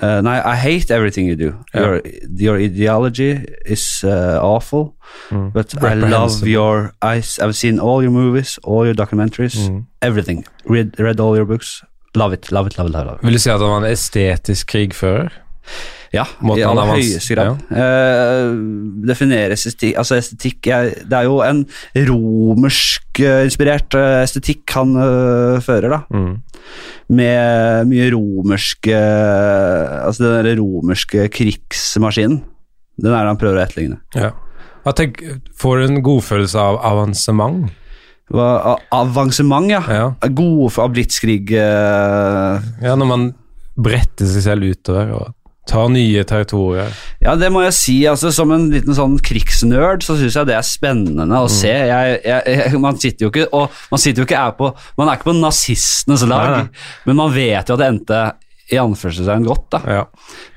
Eh, nei, I hate everything you do. Your, your ideology is uh, awful, but I love
Reprehensible.
your eyes. I've seen all your movies, all your documentaries, everything. Read, read all your books. Love it, love it, love it. Love it.
Vil du si at han var en estetisk krigfører?
Ja,
Måten
i
han
aller
avans-
høyeste grad. Eh, definere estetikk Altså, estetikk jeg, Det er jo en romersk-inspirert estetikk han eh, fører, da. Med mye romerske Altså den derre romerske krigsmaskinen. Den er det han prøver å etterligne.
Ja. Hva tenk, får du en godfølelse av avansement?
Hva, a- avansement, ja.
Ja.
Gode for blitzkrig eh,
ja, når man bretter seg selv utover og tar nye territorier.
Ja, det må jeg si. altså Som en liten sånn krigsnerd så syns jeg det er spennende å
Mm.
se. Jeg, jeg, jeg, man sitter jo ikke og man sitter jo ikke er på, man er ikke på nazistenes lag,
Nei, nei.
men man vet jo at det endte i anførselstegn godt, da.
Ja.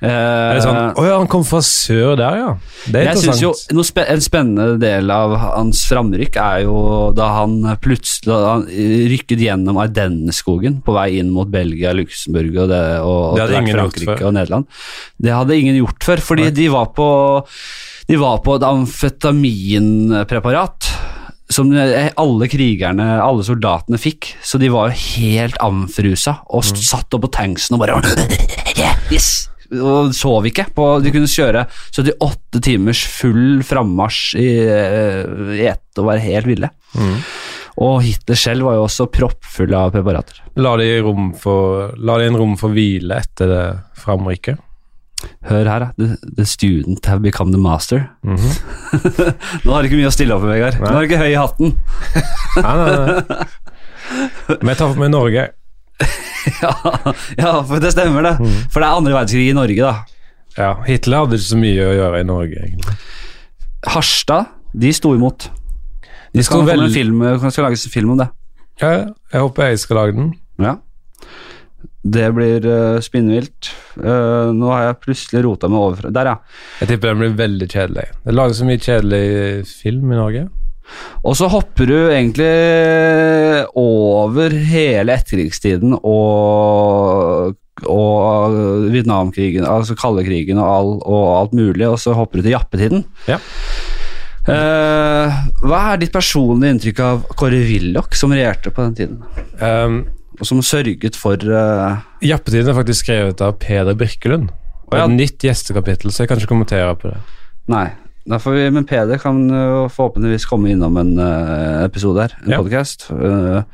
Eh,
Er det sånn Å ja, han kom fra sør der, ja. Det er
jeg synes jo
interessant.
noe spe En spennende del av hans framrykk er jo da han plutselig da han rykket gjennom Ardenneskogen på vei inn mot Belgia, Luxembourg og, det, og, og
Det
etter
hadde
hvert
ingen gjort
Frankrike
før.
og Nederland. Det hadde ingen gjort før, fordi de var på de var på et amfetaminpreparat som alle krigerne, alle soldatene fikk. Så de var jo helt amfrusa og
Mm.
satt opp på tanksen og
*laughs*
bare Yes! Og sov ikke. På, de kunne kjøre 78 timers full frammarsj i, eh, i ett og være helt ville.
Mm.
Og Hitler selv var jo også proppfull av preparater.
La de, rom for, la de en rom for hvile etter det
*laughs*
framrykket?
Hør her, da. The, the student have become the master.
Mhm.
*laughs* Nå har du ikke mye å stille opp med, Vegard. Nå er du ikke høy i hatten. *laughs*
Nei, nei, nei. Men jeg tar for meg Norge.
Ja, ja, for det stemmer det.
Mhm.
For det er andre verdenskrig i Norge, da.
Ja, Hitler hadde ikke så mye å gjøre i Norge, egentlig.
Harstad, de sto imot.
De
Skal
sto
det komme en
veldig
film, eh, det skal lages en film om det.
ja, Jeg håper jeg skal lage den.
Ja. Det blir eh, spinnvilt. Eh, nå har jeg plutselig rota meg over fra Der, ja.
Jeg tipper den blir veldig kjedelig. Det lages så mye kjedelig film i Norge.
Og så hopper du egentlig over hele etterkrigstiden og og Vietnamkrigen, altså kaldekrigen og, all, og alt mulig, og så hopper du til jappetiden.
Ja.
Eh, hva er ditt personlige inntrykk av Kåre Willoch, som regjerte på den tiden?
Um,
Og som sørget for eh,
Jappetiden er faktisk skrevet av Peder Birkelund. Og
Ja.
et nytt gjestekapittel, så jeg kan ikke kommentere på det.
Nei. Da får vi, men Peder kan jo forhåpentligvis komme innom en eh, episode her, en
Ja.
podcast. Eh,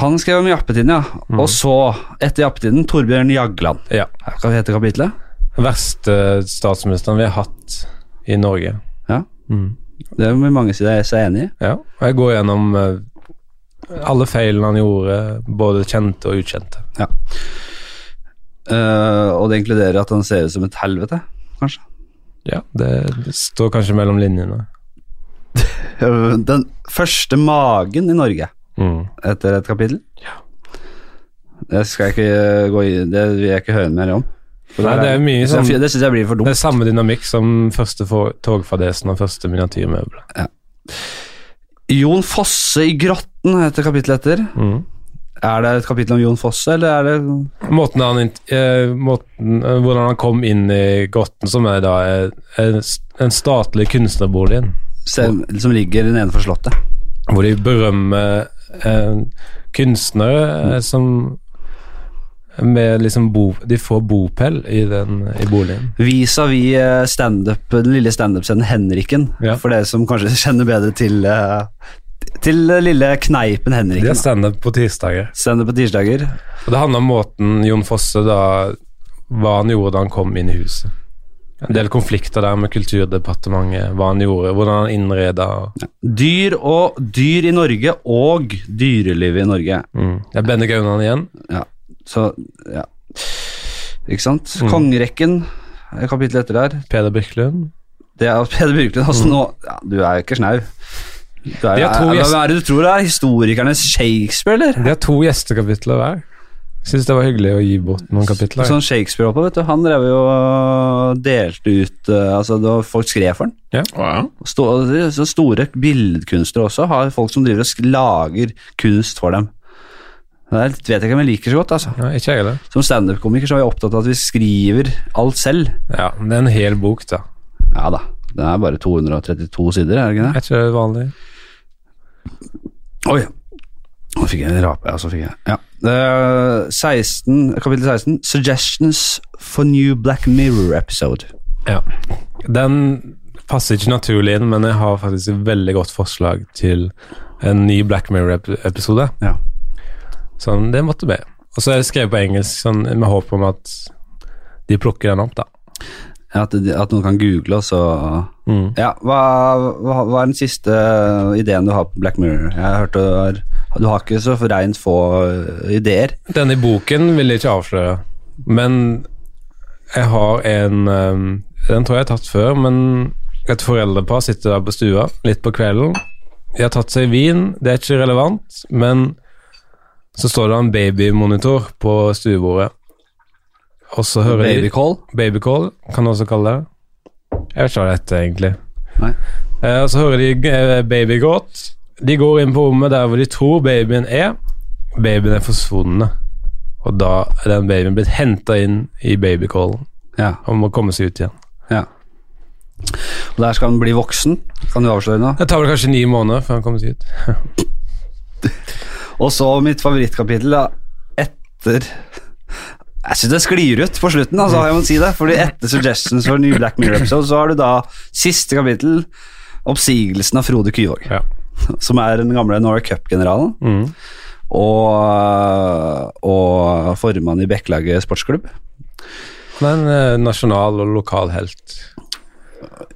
han skrev om jappetiden, ja.
Mhm.
Og så, etter jappetiden, Torbjørn Jagland.
Ja.
Hva heter kapitlet?
Verste statsministeren vi har hatt i Norge.
Ja.
Mm.
Det vil mange si deg seg enig i.
Ja, og jeg går gjennom eh, alle feilene han gjorde, både kjente og ukjente.
Eh, og det inkluderer at han ser ut som et helvete, kanskje.
Ja, det, det står kanskje mellom linjene.
Eh, Den første magen i Norge
Mm.
etter et kapittel. Det skal jeg ikke gå i Det vil jeg ikke høre mer om. For
Nei,
der
det er mye sånn-
Det, det syns jeg blir for
Det
dumt.
er samme dynamikk som første for- togfadesen og første miniatyrmøbel.
Jon Fosse i Grotten heter kapittelet etter.
Mm.
Er det et kapittel om Jon Fosse, eller er det
Måten han, int- eh, måten, eh, hvordan han kom inn i grotten, som er da eh, en, s- en statlig kunstnerboligen,
som, som ligger nedenfor Slottet?
hvor de berømmer eh, kunstnere eh, som med liksom bo, De får bopel i, den, i boligen.
Vis-à-vis eh, standup- den lille standup-scenen Henriken,
Ja.
for dere som kanskje *laughs* kjenner bedre til eh, Til eh, lille kneipen
Det er
Henriken.
standup på tirsdager.
Standup på tirsdager.
Og det handler om måten Jon Fosse da Hva han gjorde da han kom inn i huset. En del konflikter der med Kulturdepartementet, hva han gjorde, hvordan han innreda.
Dyr og dyr i Norge og dyrelivet i Norge.
Mm. Det er Benne Gaunan igjen.
Ja, så ja. Ikke sant? Kongerekken, eh, kapittelet etter der.
Peder Birkelund.
Det er Peder Birkelund. Altså nå ja, Du er jo ikke snau. Du er,
De
jo-
Mm. har to
er,
gjest-
hva er det du tror det er? Historikernes Shakespeare, eller?
De har to gjestekapitler hver. Syns det var hyggelig å gi bort noen kapitler.
Sånn Shakespeare oppe, vet du, han drev jo og delte ut eh, Altså, det var folk skrev for han.
Ja,
Sto, så store billedkunstnere også har folk som driver og sk- lager kunst for dem. Det er- vet jeg ikke om jeg liker så godt, altså.
Nei, ikke jeg heller.
Som standup-komiker så er jeg opptatt av at vi skriver alt selv.
Ja, men det er en hel bok, da.
Ja da, det er bare 232 sider, er det ikke det?
Er ikke det vanlig?
Oi, nå fikk jeg en rape, ja, så fikk jeg ja. Eh, 16, kapittel 16, Suggestions for new Black Mirror episode.
Ja. Den passer ikke naturlig inn, men jeg har faktisk et veldig godt forslag til en ny Black Mirror-episode.
Ja.
Sånn, det måtte bli. Og så er det skrevet på engelsk, sånn, med håp om at de plukker den opp, da.
At, at noen kan google, og så Ja, hva, hva, hva er den siste eh, ideen du har på Black Mirror? Jeg har hørt du har, du har ikke så reint få øh, ideer.
Denne boken vil jeg ikke avsløre, men jeg har en eh, Den tror jeg jeg har tatt før, men et foreldrepar sitter der på stua litt på kvelden. De har tatt seg vin, det er ikke relevant, men så står det en babymonitor på stuebordet. Og så hører de
Babycall?
Babycall, kan du også kalle det. Jeg vet ikke hva det heter, egentlig.
Nei.
Eh, og så hører de eh, babygråt. De går inn på rommet der hvor de tror babyen er. Babyen er forsvunnet. Og da er den babyen blitt henta inn i babycallen
Ja.
og må komme seg ut igjen.
ja. Og der skal han bli voksen, kan du avsløre nå.
Det tar vel kanskje ni måneder før han kommer seg ut.
Og så mitt favorittkapittel, da. Etter Jeg syns det sklir ut på slutten, altså, jeg må si det. Fordi etter Suggestions for New Black Mirror episode, så har du da siste kapittel, oppsigelsen av Frode Kyvåg.
Ja.
som er den gamle Norway Cup-generalen,
Mm.
og, og formann i Bekkelaget sportsklubb.
Men eh, nasjonal og lokal helt.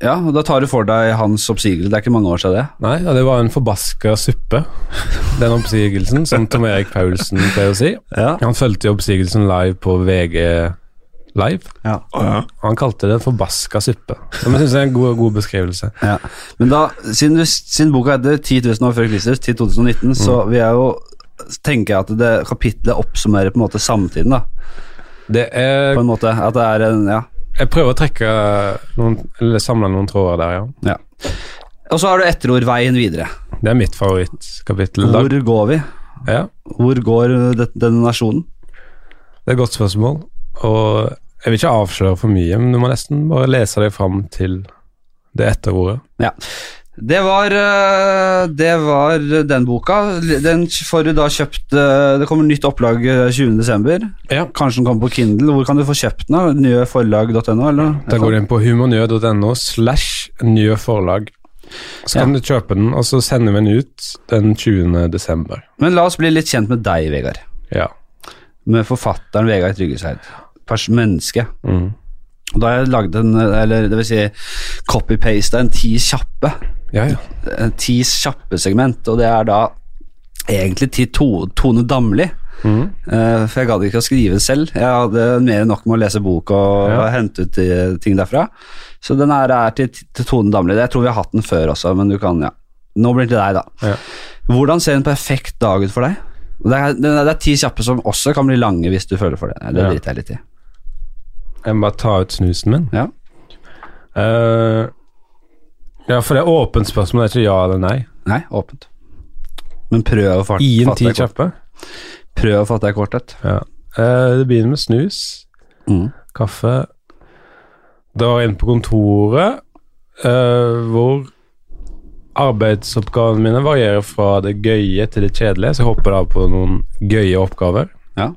Ja, og da tar du for deg hans oppsigelse, det er ikke mange år siden det.
Nei, ja, det var en forbaska suppe, *laughs* den oppsigelsen, som Tom Erik Paulsen pleier å si.
Ja.
Han fulgte jo oppsigelsen live på VG Live.
Å, ja.
Og han kalte det en forbaska suppe. Som jeg syns er en god, god beskrivelse.
Ja. Men da, siden, du- siden boka heter 10 000 år før Kristus til 2019, så vil jeg jo tenke at det kapitlet oppsummerer på en måte samtiden, da.
Det er,
På en måte, at det er en, ja.
jeg prøver å trekke noen, eller samle noen tråder der, ja.
ja. Og så har du etterord veien videre.
Det er mitt favorittkapittel. i dag.
Hvor går vi?
Ja,
Hvor går øh, det- denne nasjonen?
det er et godt spørsmål. Og jeg vil ikke avsløre for mye, men du må nesten bare lese deg fram til det etterordet.
Ja. Det var, eh, det var den boka. Den får du da kjøpt eh, Det kommer nytt opplag eh, 20. desember
Ja.
Kanskje den kommer på Kindle. Hvor kan du få kjøpt den? da? Nyeforlag.no? eller?
Da går du inn på humanø.no slash nye forlag. Så kan du kjøpe den, og så sender vi den ut den 20. desember.
Men la oss bli litt kjent med deg, Vegard.
Ja.
Med forfatteren Vegard Tryggeseid. Pers menneske.
Mm.
Og Da har jeg lagd en, eh, eller det vil si copy-pasta, en ti kjappe.
Ja, ja.
eh, Ti kjappe segment, og det er da egentlig til to, Tone Damli.
Mhm.
Eh, for jeg gadd ikke å skrive det selv. Jeg hadde mer enn nok med å lese bok og
Ja.
hente ut eh, ting derfra. Så den her er til, til Tone Damli. Jeg tror vi har hatt den før også, men du kan, ja. Nå blir det til deg, da.
Ja.
Hvordan ser en perfekt dag ut for deg? Det er, det er, det er ti kjappe som også kan bli lange hvis du føler for det. Nei, Det
Ja.
driter jeg litt i.
Jeg må bare ta ut snusen min.
Ja.
Eh, ja, for det er åpent spørsmål, det er ikke ja eller nei.
Nei, åpent. Men prøv å fart-
I en
fatte
ti
deg kort-
kjappe.
prøv å fatte deg i korthet.
Ja. Eh, det begynner med snus,
Mm.
kaffe. Drar inn på kontoret, eh, hvor arbeidsoppgavene mine varierer fra det gøye til det kjedelige, så jeg hopper da på noen gøye oppgaver.
Ja.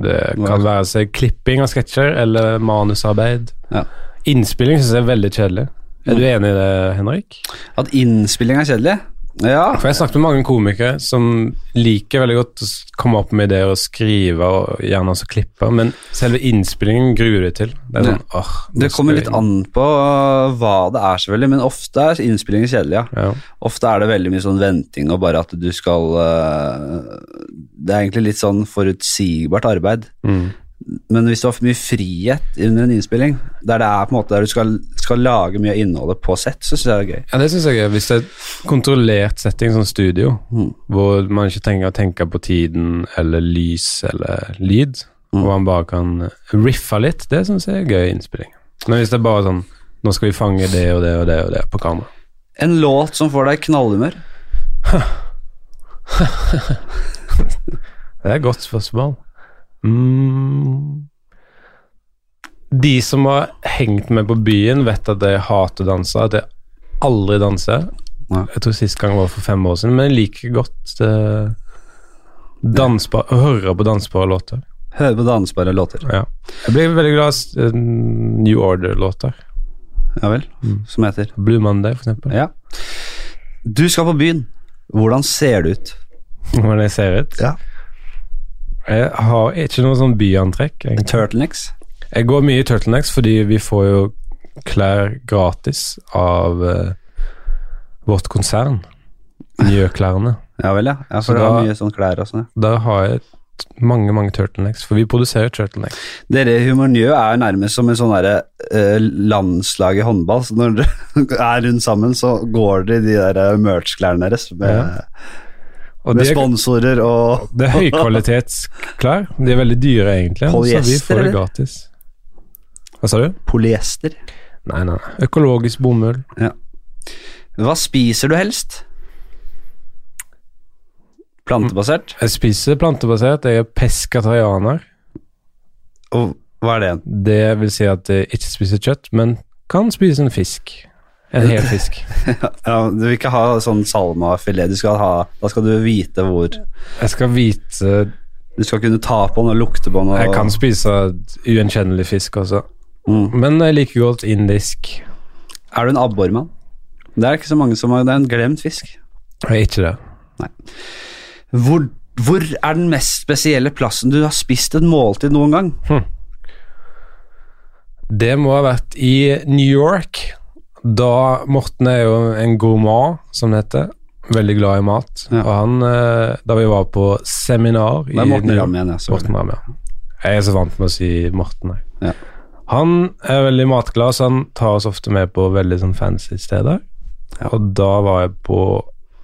Det kan være seg klipping av sketsjer eller manusarbeid.
Ja. Mm.
Innspilling syns jeg er veldig kjedelig. Er du enig i det, Henrik?
At innspilling er kjedelig? Ja.
For jeg har snakket med mange komikere som liker veldig godt å s- komme opp med ideer og skrive, og gjerne også klippe, men selve innspillingen gruer du deg til. Det er
Ja.
sånn, åh, nå
Det
skal
kommer
jeg
litt
inn.
an på øh, hva det er, selvfølgelig, men ofte er innspillingen kjedelig. ja.
Ja.
Ofte er det veldig mye sånn venting og bare at du eh, skal øh, Det er egentlig litt sånn forutsigbart arbeid.
Mm.
Men hvis det var for mye frihet under en innspilling, der det er på en måte der du skal, skal lage mye av innholdet på sett, så syns jeg det er gøy.
Ja, det synes jeg er Hvis det er et kontrollert setting som studio,
Mm.
hvor man ikke trenger å tenke på tiden eller lys eller lyd,
Mm.
og man bare kan riffe litt, det synes jeg er gøy innspilling. Men hvis det er bare sånn Nå skal vi fange det og det og det og det på kamera.
En låt som får deg i knallhumør.
Det er et godt spørsmål. Mm. De som har hengt med på byen, vet at jeg hater å danse, at jeg aldri danser.
Nei.
Jeg tror sist gang var for fem år siden, men jeg liker godt eh, dansbar, å høre på dansbare låter.
Høre på dansbare låter.
Ja. Jeg blir veldig glad i eh, New Order-låter.
Ja vel. Som heter
Blue Monday, for eksempel.
Ja. Du skal på byen. Hvordan ser det ut?
Hvordan jeg ser ut.
Ja.
Jeg har ikke noe sånn byantrekk. egentlig.
Turtlenecks.
Jeg går mye i turtlenecks fordi vi får jo klær gratis av eh, vårt konsern. Miljøklærne.
Ja vel, ja. ja
Så
for det
da-
er mye sånn klær og sånn. ja.
Der har jeg t- mange, mange turtlenecks, for vi produserer turtlenecks.
Dere i Humornjø er jo nærmest som en sånn derre eh, landslag i håndball. Så når dere *laughs* er rundt sammen, så går dere i de der eh, merch-klærne deres med,
Ja. Og
med
det er,
sponsorer og
det er høykvalitetsklær. De er veldig dyre, egentlig, så vi
Polyester,
får det
eller?
gratis. Hva sa du?
polyester.
Nei, nei. nei. Økologisk bomull.
Hva spiser du helst? Plantebasert.
Jeg spiser plantebasert. Jeg er peskatarianer.
Og hva er det?
Det vil si at jeg ikke spiser kjøtt, men kan spise en fisk. En hel fisk.
Ja, du vil ikke ha sånn salmafilet. Du skal ha, da skal du vite hvor Du
Jeg skal vite
skal kunne ta på den og lukte på den. Og,
Jeg kan spise ugjenkjennelig fisk også.
Mm.
Men jeg liker godt indisk.
Er du en abbormann? Det er ikke så mange som har Det er en glemt fisk.
Jeg er ikke det.
Hvor, hvor er den mest spesielle plassen du har spist et måltid noen gang?
Det må ha vært i New York. Da Morten er jo en gourmand, som det heter. Veldig glad i mat.
Ja.
Og han, eh, da vi var på seminar i
Det er Morten
New-
Ramm igjen, ja. sorry.
Morten Ramm, ja. Jeg er så vant med å si Morten, jeg.
Ja.
Han er veldig matglad, så han tar oss ofte med på veldig sånn fancy steder. Og da var jeg på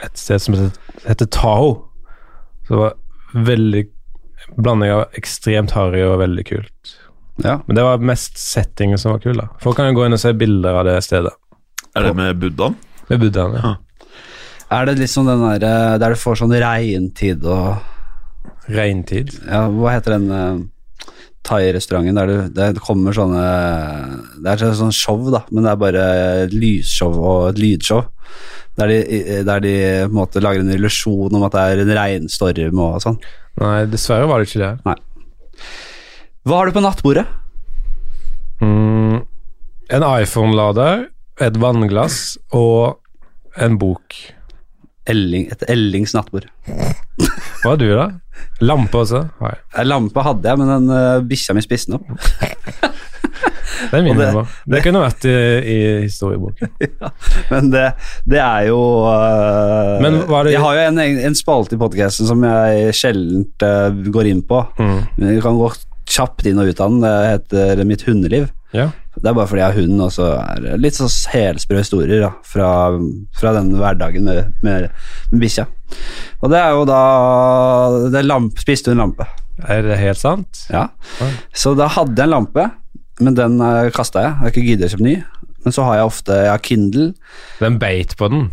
et sted som heter, heter Taho. Så det var veldig blanding av ekstremt harry og veldig kult.
Ja.
Men det var mest settingen som var kul, da. Folk kan jo gå inn og se bilder av det stedet.
Er det med buddhaen?
Ved buddhaen, ja.
Er det liksom den der, eh, der du får sånn regntid og
Regntid.
ja, Hva heter den eh, thai-restauranten der du, det kommer sånne Det er sånn show, da, men det er bare lysshow og et lydshow. Der de, der de på en måte lager en illusjon om at det er en regnstorm og sånn.
Nei, dessverre var det ikke det.
Hva har du på nattbordet?
Mm, en iPhone-lader, et vannglass og en bok.
Elling, et Ellings nattbord.
Hva har du, da? Lampe også? Nei,
Eh, Lampe hadde jeg, men den eh, bikkja mi spiste den opp.
det er min
Og det-
humor. Det kunne vært i, i historieboken.
Men det, det er jo øh,
Men hva er det-
Jeg har jo en, egen- en spalte i podkasten som jeg sjelden øh, går inn på.
Mm.
Men Vi kan gå kjapt inn og ut av den. Det heter Mitt hundeliv.
Ja.
Det er bare fordi jeg har hund, og så er det litt sånn helsprø historier da, fra, fra den hverdagen med, med, med bikkja. Og det er jo da det er lamp, Spiste hun lampe?
Er det helt sant?
Ja.
Oi.
Så da hadde jeg en lampe, men den øh, kasta jeg. Jeg har ikke giddet å kjøpe ny. Men så har jeg ofte jeg har Kindle.
Den beit på den?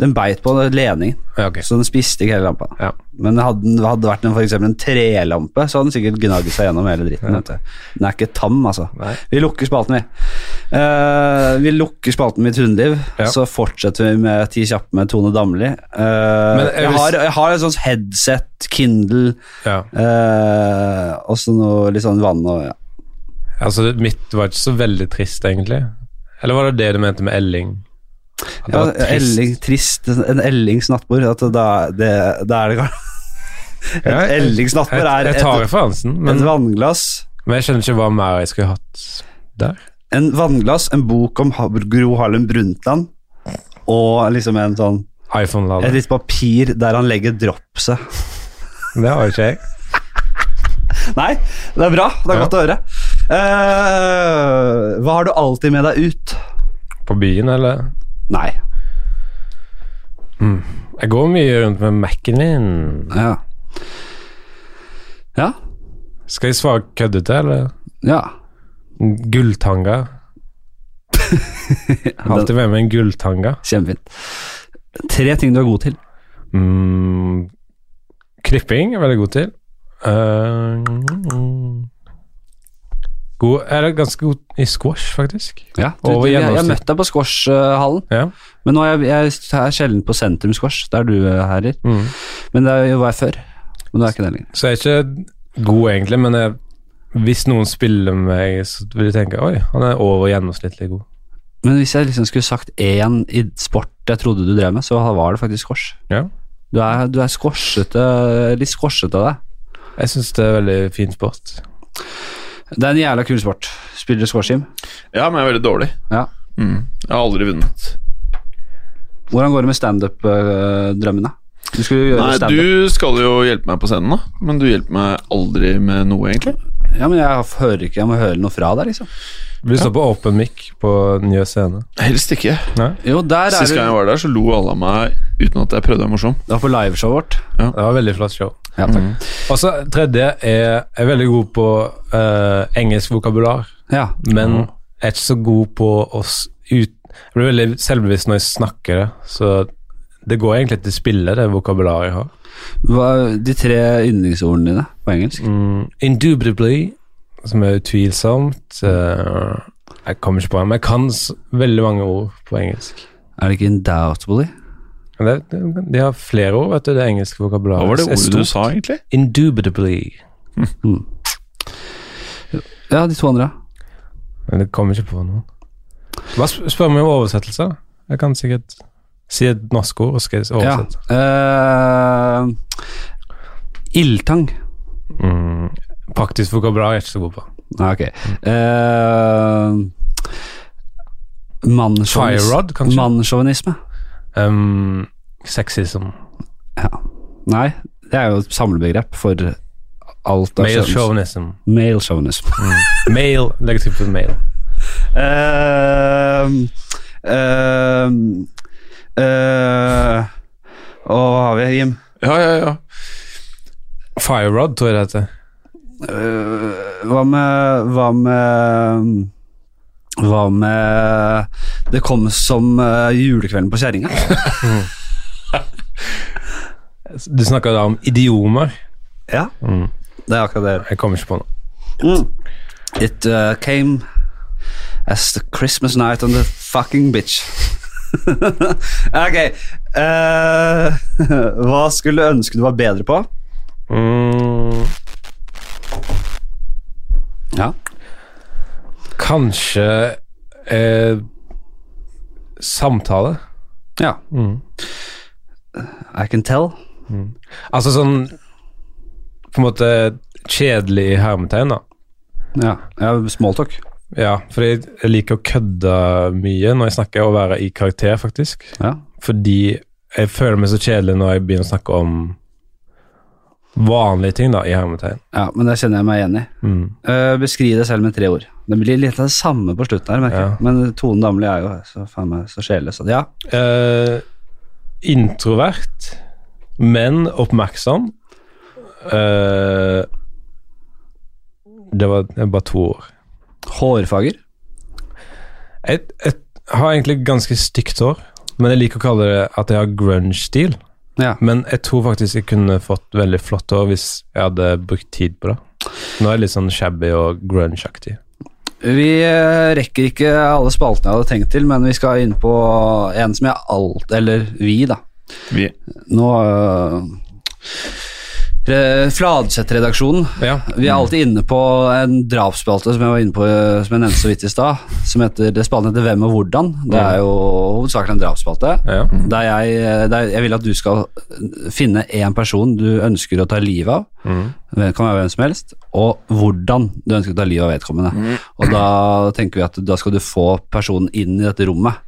Den beit på ledningen,
Ja, ok.
så den spiste ikke hele lampa.
Ja.
Men hadde den hadde det vært en, for eksempel en trelampe, så hadde den sikkert gnagd seg gjennom hele dritten. vet du. Den er ikke tam, altså.
Nei.
Vi lukker spalten, vi. Eh, vi lukker spalten Mitt hundeliv,
Ja.
så fortsetter vi med Ti kjappe med Tone Damli. Eh,
jeg
jeg,
vil s-
har, jeg har et sånt headset, Kindle,
ja.
eh, og så noe litt sånn vann og ja.
Altså, mitt var ikke så veldig trist, egentlig. Eller var det det du mente med Elling? At det
Ja,
var trist?
Elling, trist, en Ellings nattbord. At da, det, da er det
Ja, jeg-
Ellings nattbord er
Jeg, jeg tar referansen,
et,
men,
et vannglass.
men jeg skjønner ikke hva mer jeg skulle hatt der.
en vannglass, en bok om Ha- Gro Harlem Brundtland, og liksom en sånn et
iPhone-lader.
litt papir der han legger dropset.
Det har jo ikke jeg.
*laughs* Nei, det er bra. Det er
Ja.
godt å høre. Eh, hva har du alltid med deg ut?
På byen, eller?
Nei.
Jeg går mye rundt med Mac-en min.
Ja. Ja.
Skal jeg svare køddete, eller?
ja.
Gulltanga. Alltid med meg en gulltanga.
Kjempefint. Tre ting du er god til.
Mm, knipping er jeg veldig god til. Eh, mm. god, jeg er ganske god i squash, faktisk.
Ja, du, du,
Over
jeg, jeg
gjennomsnitt.
møtte deg på squashhallen,
Ja.
men nå er jeg, jeg er sjelden på sentrum squash, der du eh, herrer.
Mm.
Men det er jo- var jeg før. Men nå er jeg ikke det lenger.
Så jeg er ikke god egentlig, men jeg, hvis noen spiller med meg, så vil jeg tenke oi, han er over gjennomsnittlig god.
Men hvis jeg liksom skulle sagt én i sport jeg trodde du drev med, så var det faktisk squash.
Ja.
Du er, du er squashete, litt squashete av deg.
Jeg syns det er veldig fin sport.
Det er en jævla kul sport. Spiller du squash, Jim?
Ja, men jeg er veldig dårlig.
Ja.
Mm. Jeg har aldri vunnet.
Hvordan går det med standup-drømmene? Du skulle jo gjøre
Nei,
standup.
du skal jo hjelpe meg på scenen, da. Men du hjelper meg aldri med noe, egentlig.
Ja, men jeg hører ikke, jeg må høre noe fra deg, liksom.
Vi står på åpen mic på Njø scene.
Helst ikke.
Jo, der er
Sist
du.
gang jeg
Det
var der, så lo alle av meg uten at jeg prøvde å være morsom.
var på liveshowet vårt.
Det var veldig flott show.
Ja, takk.
Mm.
Og så tredje er jeg er veldig god på eh, engelsk vokabular,
Ja.
men jeg er ikke så god på å s- ut... Jeg blir veldig selvbevisst når jeg snakker det, så det går egentlig til spille, det vokabularet jeg har.
Hva, de tre yndlingsordene dine på engelsk.
Mm, indubitably, som er utvilsomt. eh, jeg kommer ikke på det, men jeg kan s veldig mange ord på engelsk.
Er det ikke indoubtably?
Men Det, det, de har flere ord, vet du, det engelske vokabularet.
Hva var det
er
ordet du
stort.
sa, egentlig?
Indubitably.
Ja, de to andre.
Men det kommer ikke på noen. Bare sp spør meg om oversettelse. da. Jeg kan sikkert si et norsk ord, og skal jeg
Ja.
oversette.
Eh, ildtang.
Mm, praktisk vokabular er jeg ikke så god på.
Nei, ok. Eh, mannsjåvinis-
Firerod, kanskje?
Mannssjåvinisme.
Um, sexism.
Nei, det er jo et samlebegrep for alt av
Male
sjåvinisme.
chauvinism.
Male chauvinism.
Male, legg til på male. Mm.
*laughs* Ehm, ehm, eh, Å, hva har vi, Jim?
Ja, ja, ja.
Firerod, tror jeg det heter.
Eh, hva med Hva med Hva med Det kom som eh, julekvelden på kjerringa?
Du snakker da om idiomer.
*laughs* Ja,
Mm.
det er akkurat det.
Jeg kommer ikke på noe.
Mm. It uh, came as the Christmas night on the fucking bitch. *laughs* ok. eh, *laughs* hva skulle du ønske du var bedre på?
Mm,
Ja.
kanskje eh, samtale.
ja. I can tell.
Altså sånn på en måte kjedelig i hermetegn, da.
Ja, ja Smalltalk.
Ja, for jeg jeg liker å kødde mye når jeg snakker, og være i karakter, faktisk.
Ja.
Fordi jeg føler meg så kjedelig når jeg begynner å snakke om vanlige ting, da, i hermetegn.
ja, men det kjenner jeg meg igjen i.
Mm.
Eh, beskriv deg selv med tre ord. Det blir litt av det samme på slutten her, merker jeg.
Ja.
Men Tone Damli er jo så, faen meg, så sjelløs. at- Ja.
Eh, introvert, men oppmerksom. Eh, det var det er bare to år.
Hårfager.
Jeg, jeg har egentlig ganske stygt hår, men jeg liker å kalle det at jeg har grunge-stil.
Ja.
Men jeg tror faktisk jeg kunne fått veldig flott hår hvis jeg hadde brukt tid på det. Nå er jeg litt sånn shabby og grunge-aktig.
Vi eh, rekker ikke alle spaltene jeg hadde tenkt til, men vi skal inn på en som jeg alt Eller vi, da.
Vi.
Nå eh, øh, Fladseth-redaksjonen.
Ja.
Vi er alltid inne på en drapsspalte som jeg var inne på øh, Som jeg nevnte så vidt i stad. Som heter det Spalten heter Hvem og hvordan. Det er jo hovedsakelig en drapsspalte.
ja.
Der jeg, øh, der jeg vil at du skal øh, finne én person du ønsker å ta livet av.
Mm.
Det kan være hvem som helst, og hvordan du ønsker å ta livet av vedkommende.
Mm.
Og da tenker vi at da skal du få personen inn i dette rommet.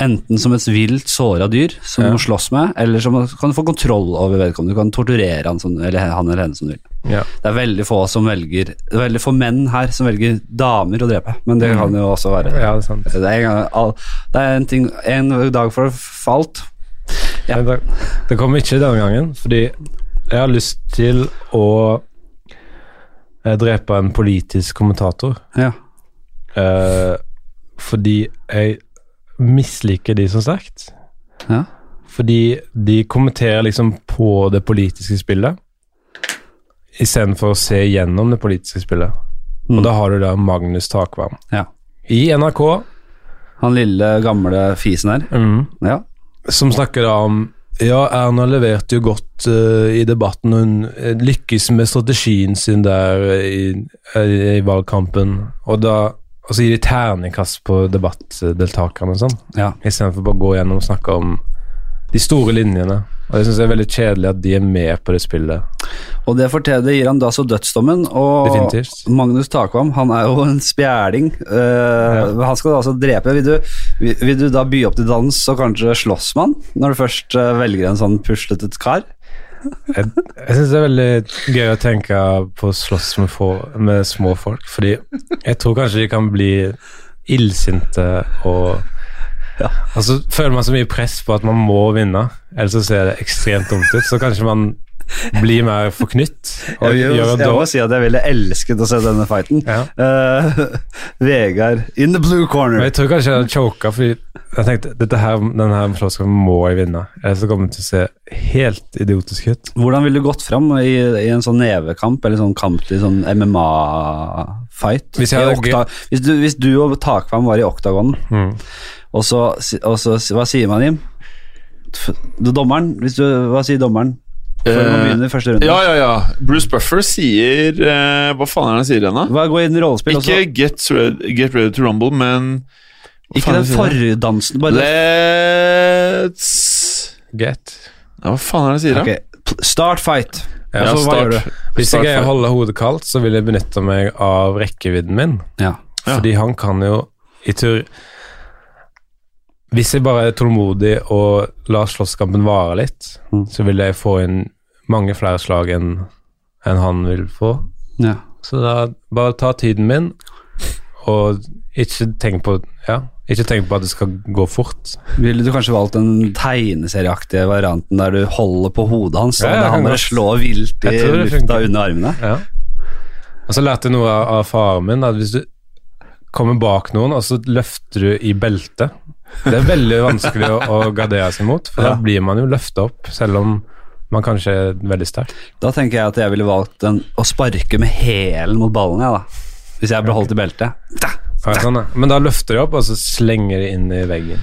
Enten som et vilt såra dyr som du må slåss med, eller som kan du få kontroll over vedkommende. Du kan torturere han, som, eller han eller henne som du vil.
Ja.
Det er veldig få som velger Det er veldig få menn her som velger damer å drepe, men det kan jo også være
Mm. Ja, det er sant.
Det er en, gang- all- det er en, ting, en dag for alt. Ja.
Men Det, det kommer ikke denne gangen, fordi jeg har lyst til å eh, drepe en politisk kommentator.
Ja.
eh, fordi jeg misliker de så sterkt.
Ja.
Fordi de kommenterer liksom på det politiske spillet istedenfor å se gjennom det politiske spillet.
Mm.
Og da har du da Magnus Takvam.
Ja.
I NRK,
Han lille, gamle fisen her.
Mm.
Ja.
som snakker da om Ja, Erna leverte jo godt eh, i debatten. Hun eh, lykkes med strategien sin der eh, i, eh, i valgkampen. Og da og så gir de terningkast på debattdeltakerne og sånn.
ja.
Istedenfor bare å gå gjennom og snakke om de store linjene. Og jeg syns det er veldig kjedelig at de er med på det spillet.
Og det fortjener det gir han da så dødsdommen. Og
Definitivt.
Magnus Takvam han er jo en spjæling. Eh, Han skal da altså drepe. Vil du, vil, vil du da by opp til dans og kanskje slåss med han, når du først eh, velger en sånn puslete kar?
Jeg, jeg syns det er veldig gøy å tenke på å slåss med, få, med små folk, fordi jeg tror kanskje de kan bli illsinte og Og så føler man så mye press på at man må vinne, ellers så ser det ekstremt dumt ut. Så kanskje man blir mer forknytt
Jeg,
og
vil jo-
gjør det
jeg må
dårlig.
si at jeg ville elsket å se denne fighten.
Ja.
Eh, *laughs* Vegard in the blue
Men
corner.
jeg tror kanskje jeg hadde choka, fordi jeg tenkte dette her, denne her slåsskampen må jeg vinne. Ellers så kommer det til å se helt idiotisk ut.
Hvordan ville du gått fram i, i en sånn nevekamp eller sånn kamp til sånn MMA-fight?
Hvis jeg
I
hadde-
okta- hvis, du- hvis du og Takvam var i oktagonen, og, så, si- og så si- Hva sier man, Jim? F- Du, dommeren? Hvis du, hva sier dommeren? Før man
Eh,
begynner i første runde.
Ja, ja, ja. Bruce Buffer sier eh, Hva faen er det han sier igjen, da?
Hva, gå inn i rollespill, Altså, og
Ikke
så
get ready, get ready to rumble, men hva
Ikke
faen
den
er det han sier?
fordansen, bare
Let's
Get.
ja, Hva faen er det han sier, da?
Ok, pl- Start fight. Altså,
Ja,
Ja,
så hva
start.
gjør du? Hvis
Start
jeg greier
for-
å holde hodet kaldt, så vil jeg benytte meg av rekkevidden min.
Ja.
Ja.
Fordi han kan jo i tur Hvis jeg bare er tålmodig og lar slåsskampen vare litt,
Mm.
så vil jeg få inn mange flere slag enn enn han vil få.
ja.
Så da bare ta tiden min, og ikke tenk på Ja, ikke tenk på at det skal gå fort.
Ville du kanskje valgt den tegneserieaktige varianten der du holder på hodet hans, og
Ja, ja,
han
kan
bare
godt.
slår vilt i
Jeg tror det
lufta
funker.
under armene?
Ja. Og så lærte jeg noe av, av faren min, at hvis du kommer bak noen, og så løfter du i beltet Det er veldig vanskelig å, å gardere seg mot, for
Ja.
da blir man jo løfta opp, selv om man kanskje er veldig sterk.
Da tenker jeg at jeg ville valgt den å sparke med hælen mot ballen, jeg, da. Hvis jeg ble holdt i beltet. Da!
Ja, Sånn, ja. Men da løfter de opp, og så slenger de inn i veggen.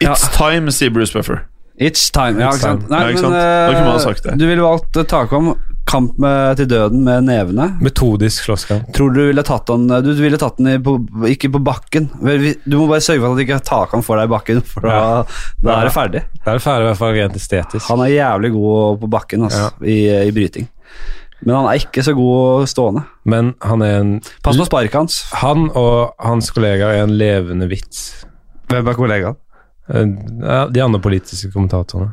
It's time, sier Bruce Buffer.
It's time. Ja,
It's
ikke sant?
time.
Nei,
Ja, ikke sant?
eh,
Da kunne man ha sagt det.
Du ville valgt eh, Takvam kamp med, til døden med nevene.
Metodisk slåsskamp.
Tror du ville tatt den eh, Du ville tatt den i, på, ikke på bakken. Vel, vi- Du må bare sørge for at ikke Takvam får deg i bakken, *laughs* for da,
Ja.
da er det ferdig.
Da er det ferdig, i hvert fall rent estetisk.
Han er jævlig god på bakken altså, i, i bryting. Men han er ikke så god stående.
Men han er en
Pass på sparket hans.
Han og hans kollegaer er en levende vits.
Hvem er kollegaen?
Eh, ja, De andre politiske kommentatorene.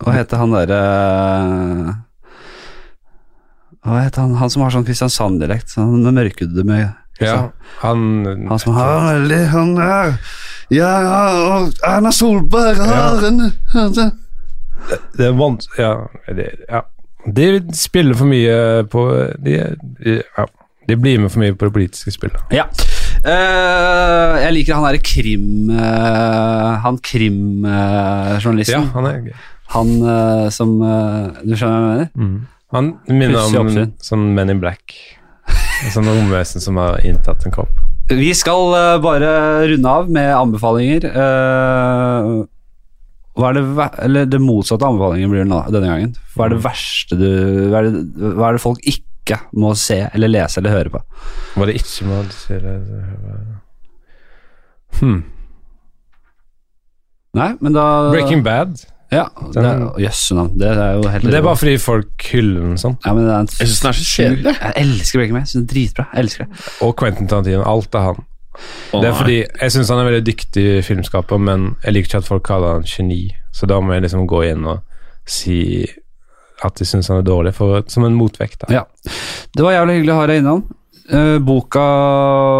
Hva heter han derre Hva heter han Han som har sånn Kristiansand-dialekt? sånn Med mørkhudede med
Ja, han
Han som har Han er- han er Ja, ja, og Erna Solberg har en
Det er vans... Ja, det, ja. De spiller for mye på de, de, ja. de blir med for mye på det politiske spillet.
Ja. Eh, jeg liker han derre krim... eh, han
Ja,
krimjournalisten.
han er gøy.
Han eh, som eh, Du skjønner hva jeg mener?
Han minner
Pussig
om
oppsyn.
sånn Men in
*laughs*
Black. Et sånt romvesen som har inntatt en kropp.
Vi skal eh, bare runde av med anbefalinger. Eh, hva er det, ver- eller det motsatte av anbefalingen blir det nå, denne gangen. Hva
Mm.
er det verste du hva er det, hva er det folk ikke må se eller lese eller høre på?
Var det ikke med han sier det hmm.
Nei, men da
Breaking Bad.
Ja, Uh, det er-
Den-
Jøsse navn. Det er jo helt
Men det er bare fordi folk hyller den sånn.
ja, men det er en
Jeg syns den er så kjedelig.
Jeg elsker Breaking Bad. Jeg synes det er Dritbra. Jeg elsker det.
Og Quentin Tarantino. Alt er han.
Å,
Det er
nei.
fordi Jeg syns han er veldig dyktig filmskaper, men jeg liker ikke at folk kaller han geni. Så da må jeg liksom gå inn og si at de syns han er dårlig, for, som en motvekt. da.
Ja. Det var jævlig hyggelig å ha deg innom. Eh, boka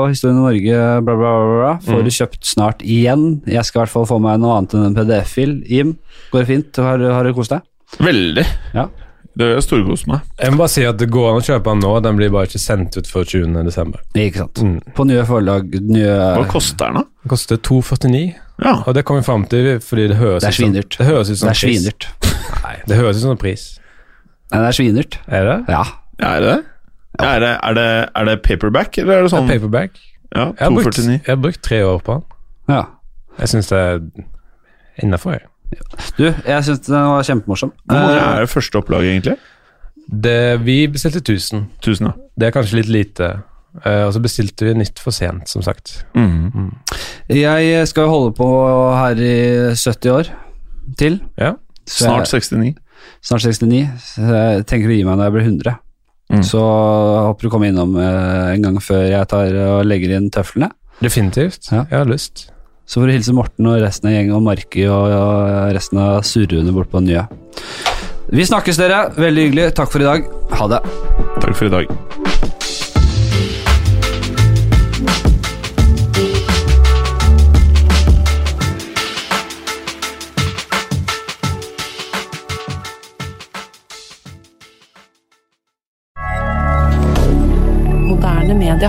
'Historien om Norge' bla, bla, bla, bla, får
Mm.
du kjøpt snart igjen. Jeg skal i hvert fall få meg noe annet enn en PDF-fil. Jim, går det fint? Har, har du kost deg?
Veldig.
Ja.
Det er storkost meg.
Jeg må bare si at det går an å kjøpe den nå, den blir bare ikke sendt ut før 20. desember.
Ikke sant.
Mm.
På nye forlag, nye
Hva koster den, da?
Den koster 2,49,
Ja.
og det kom vi fram til fordi det høres
Det er
ut som-
svindyrt.
Det høres
Det
ut som
er svindyrt.
pris. Nei, det høres ut som en pris.
Nei, det er svindyrt.
Er det?
Ja.
Er det det? Ja, er, det, er, det, er det paperback, eller er det sånn?
Paperback.
Ja,
Jeg har, brukt,
249.
jeg har brukt tre år på den.
ja.
Jeg syns det er innafor, jeg.
Du, jeg syns den var kjempemorsom.
Hvor mange
Eh,
er det første opplaget, egentlig?
Det, vi bestilte 1000.
Tusen, ja.
Det er kanskje litt lite. Eh, og så bestilte vi nytt for sent, som sagt.
Mhm.
Eh, Jeg skal jo holde på her i 70 år til.
Ja.
Så
Snart
jeg,
69.
snart 69. Så jeg tenker å gi meg når jeg blir 100.
Mm.
Så jeg håper du kommer innom eh, en gang før jeg tar og legger inn tøflene.
Definitivt.
Ja.
Jeg har lyst.
Så får du hilse Morten og resten av gjengen og Marki og og resten av surruene bort på Nye. Vi snakkes, dere. Veldig hyggelig. Takk for i dag. Ha det.
Takk for i dag.
Moderne media.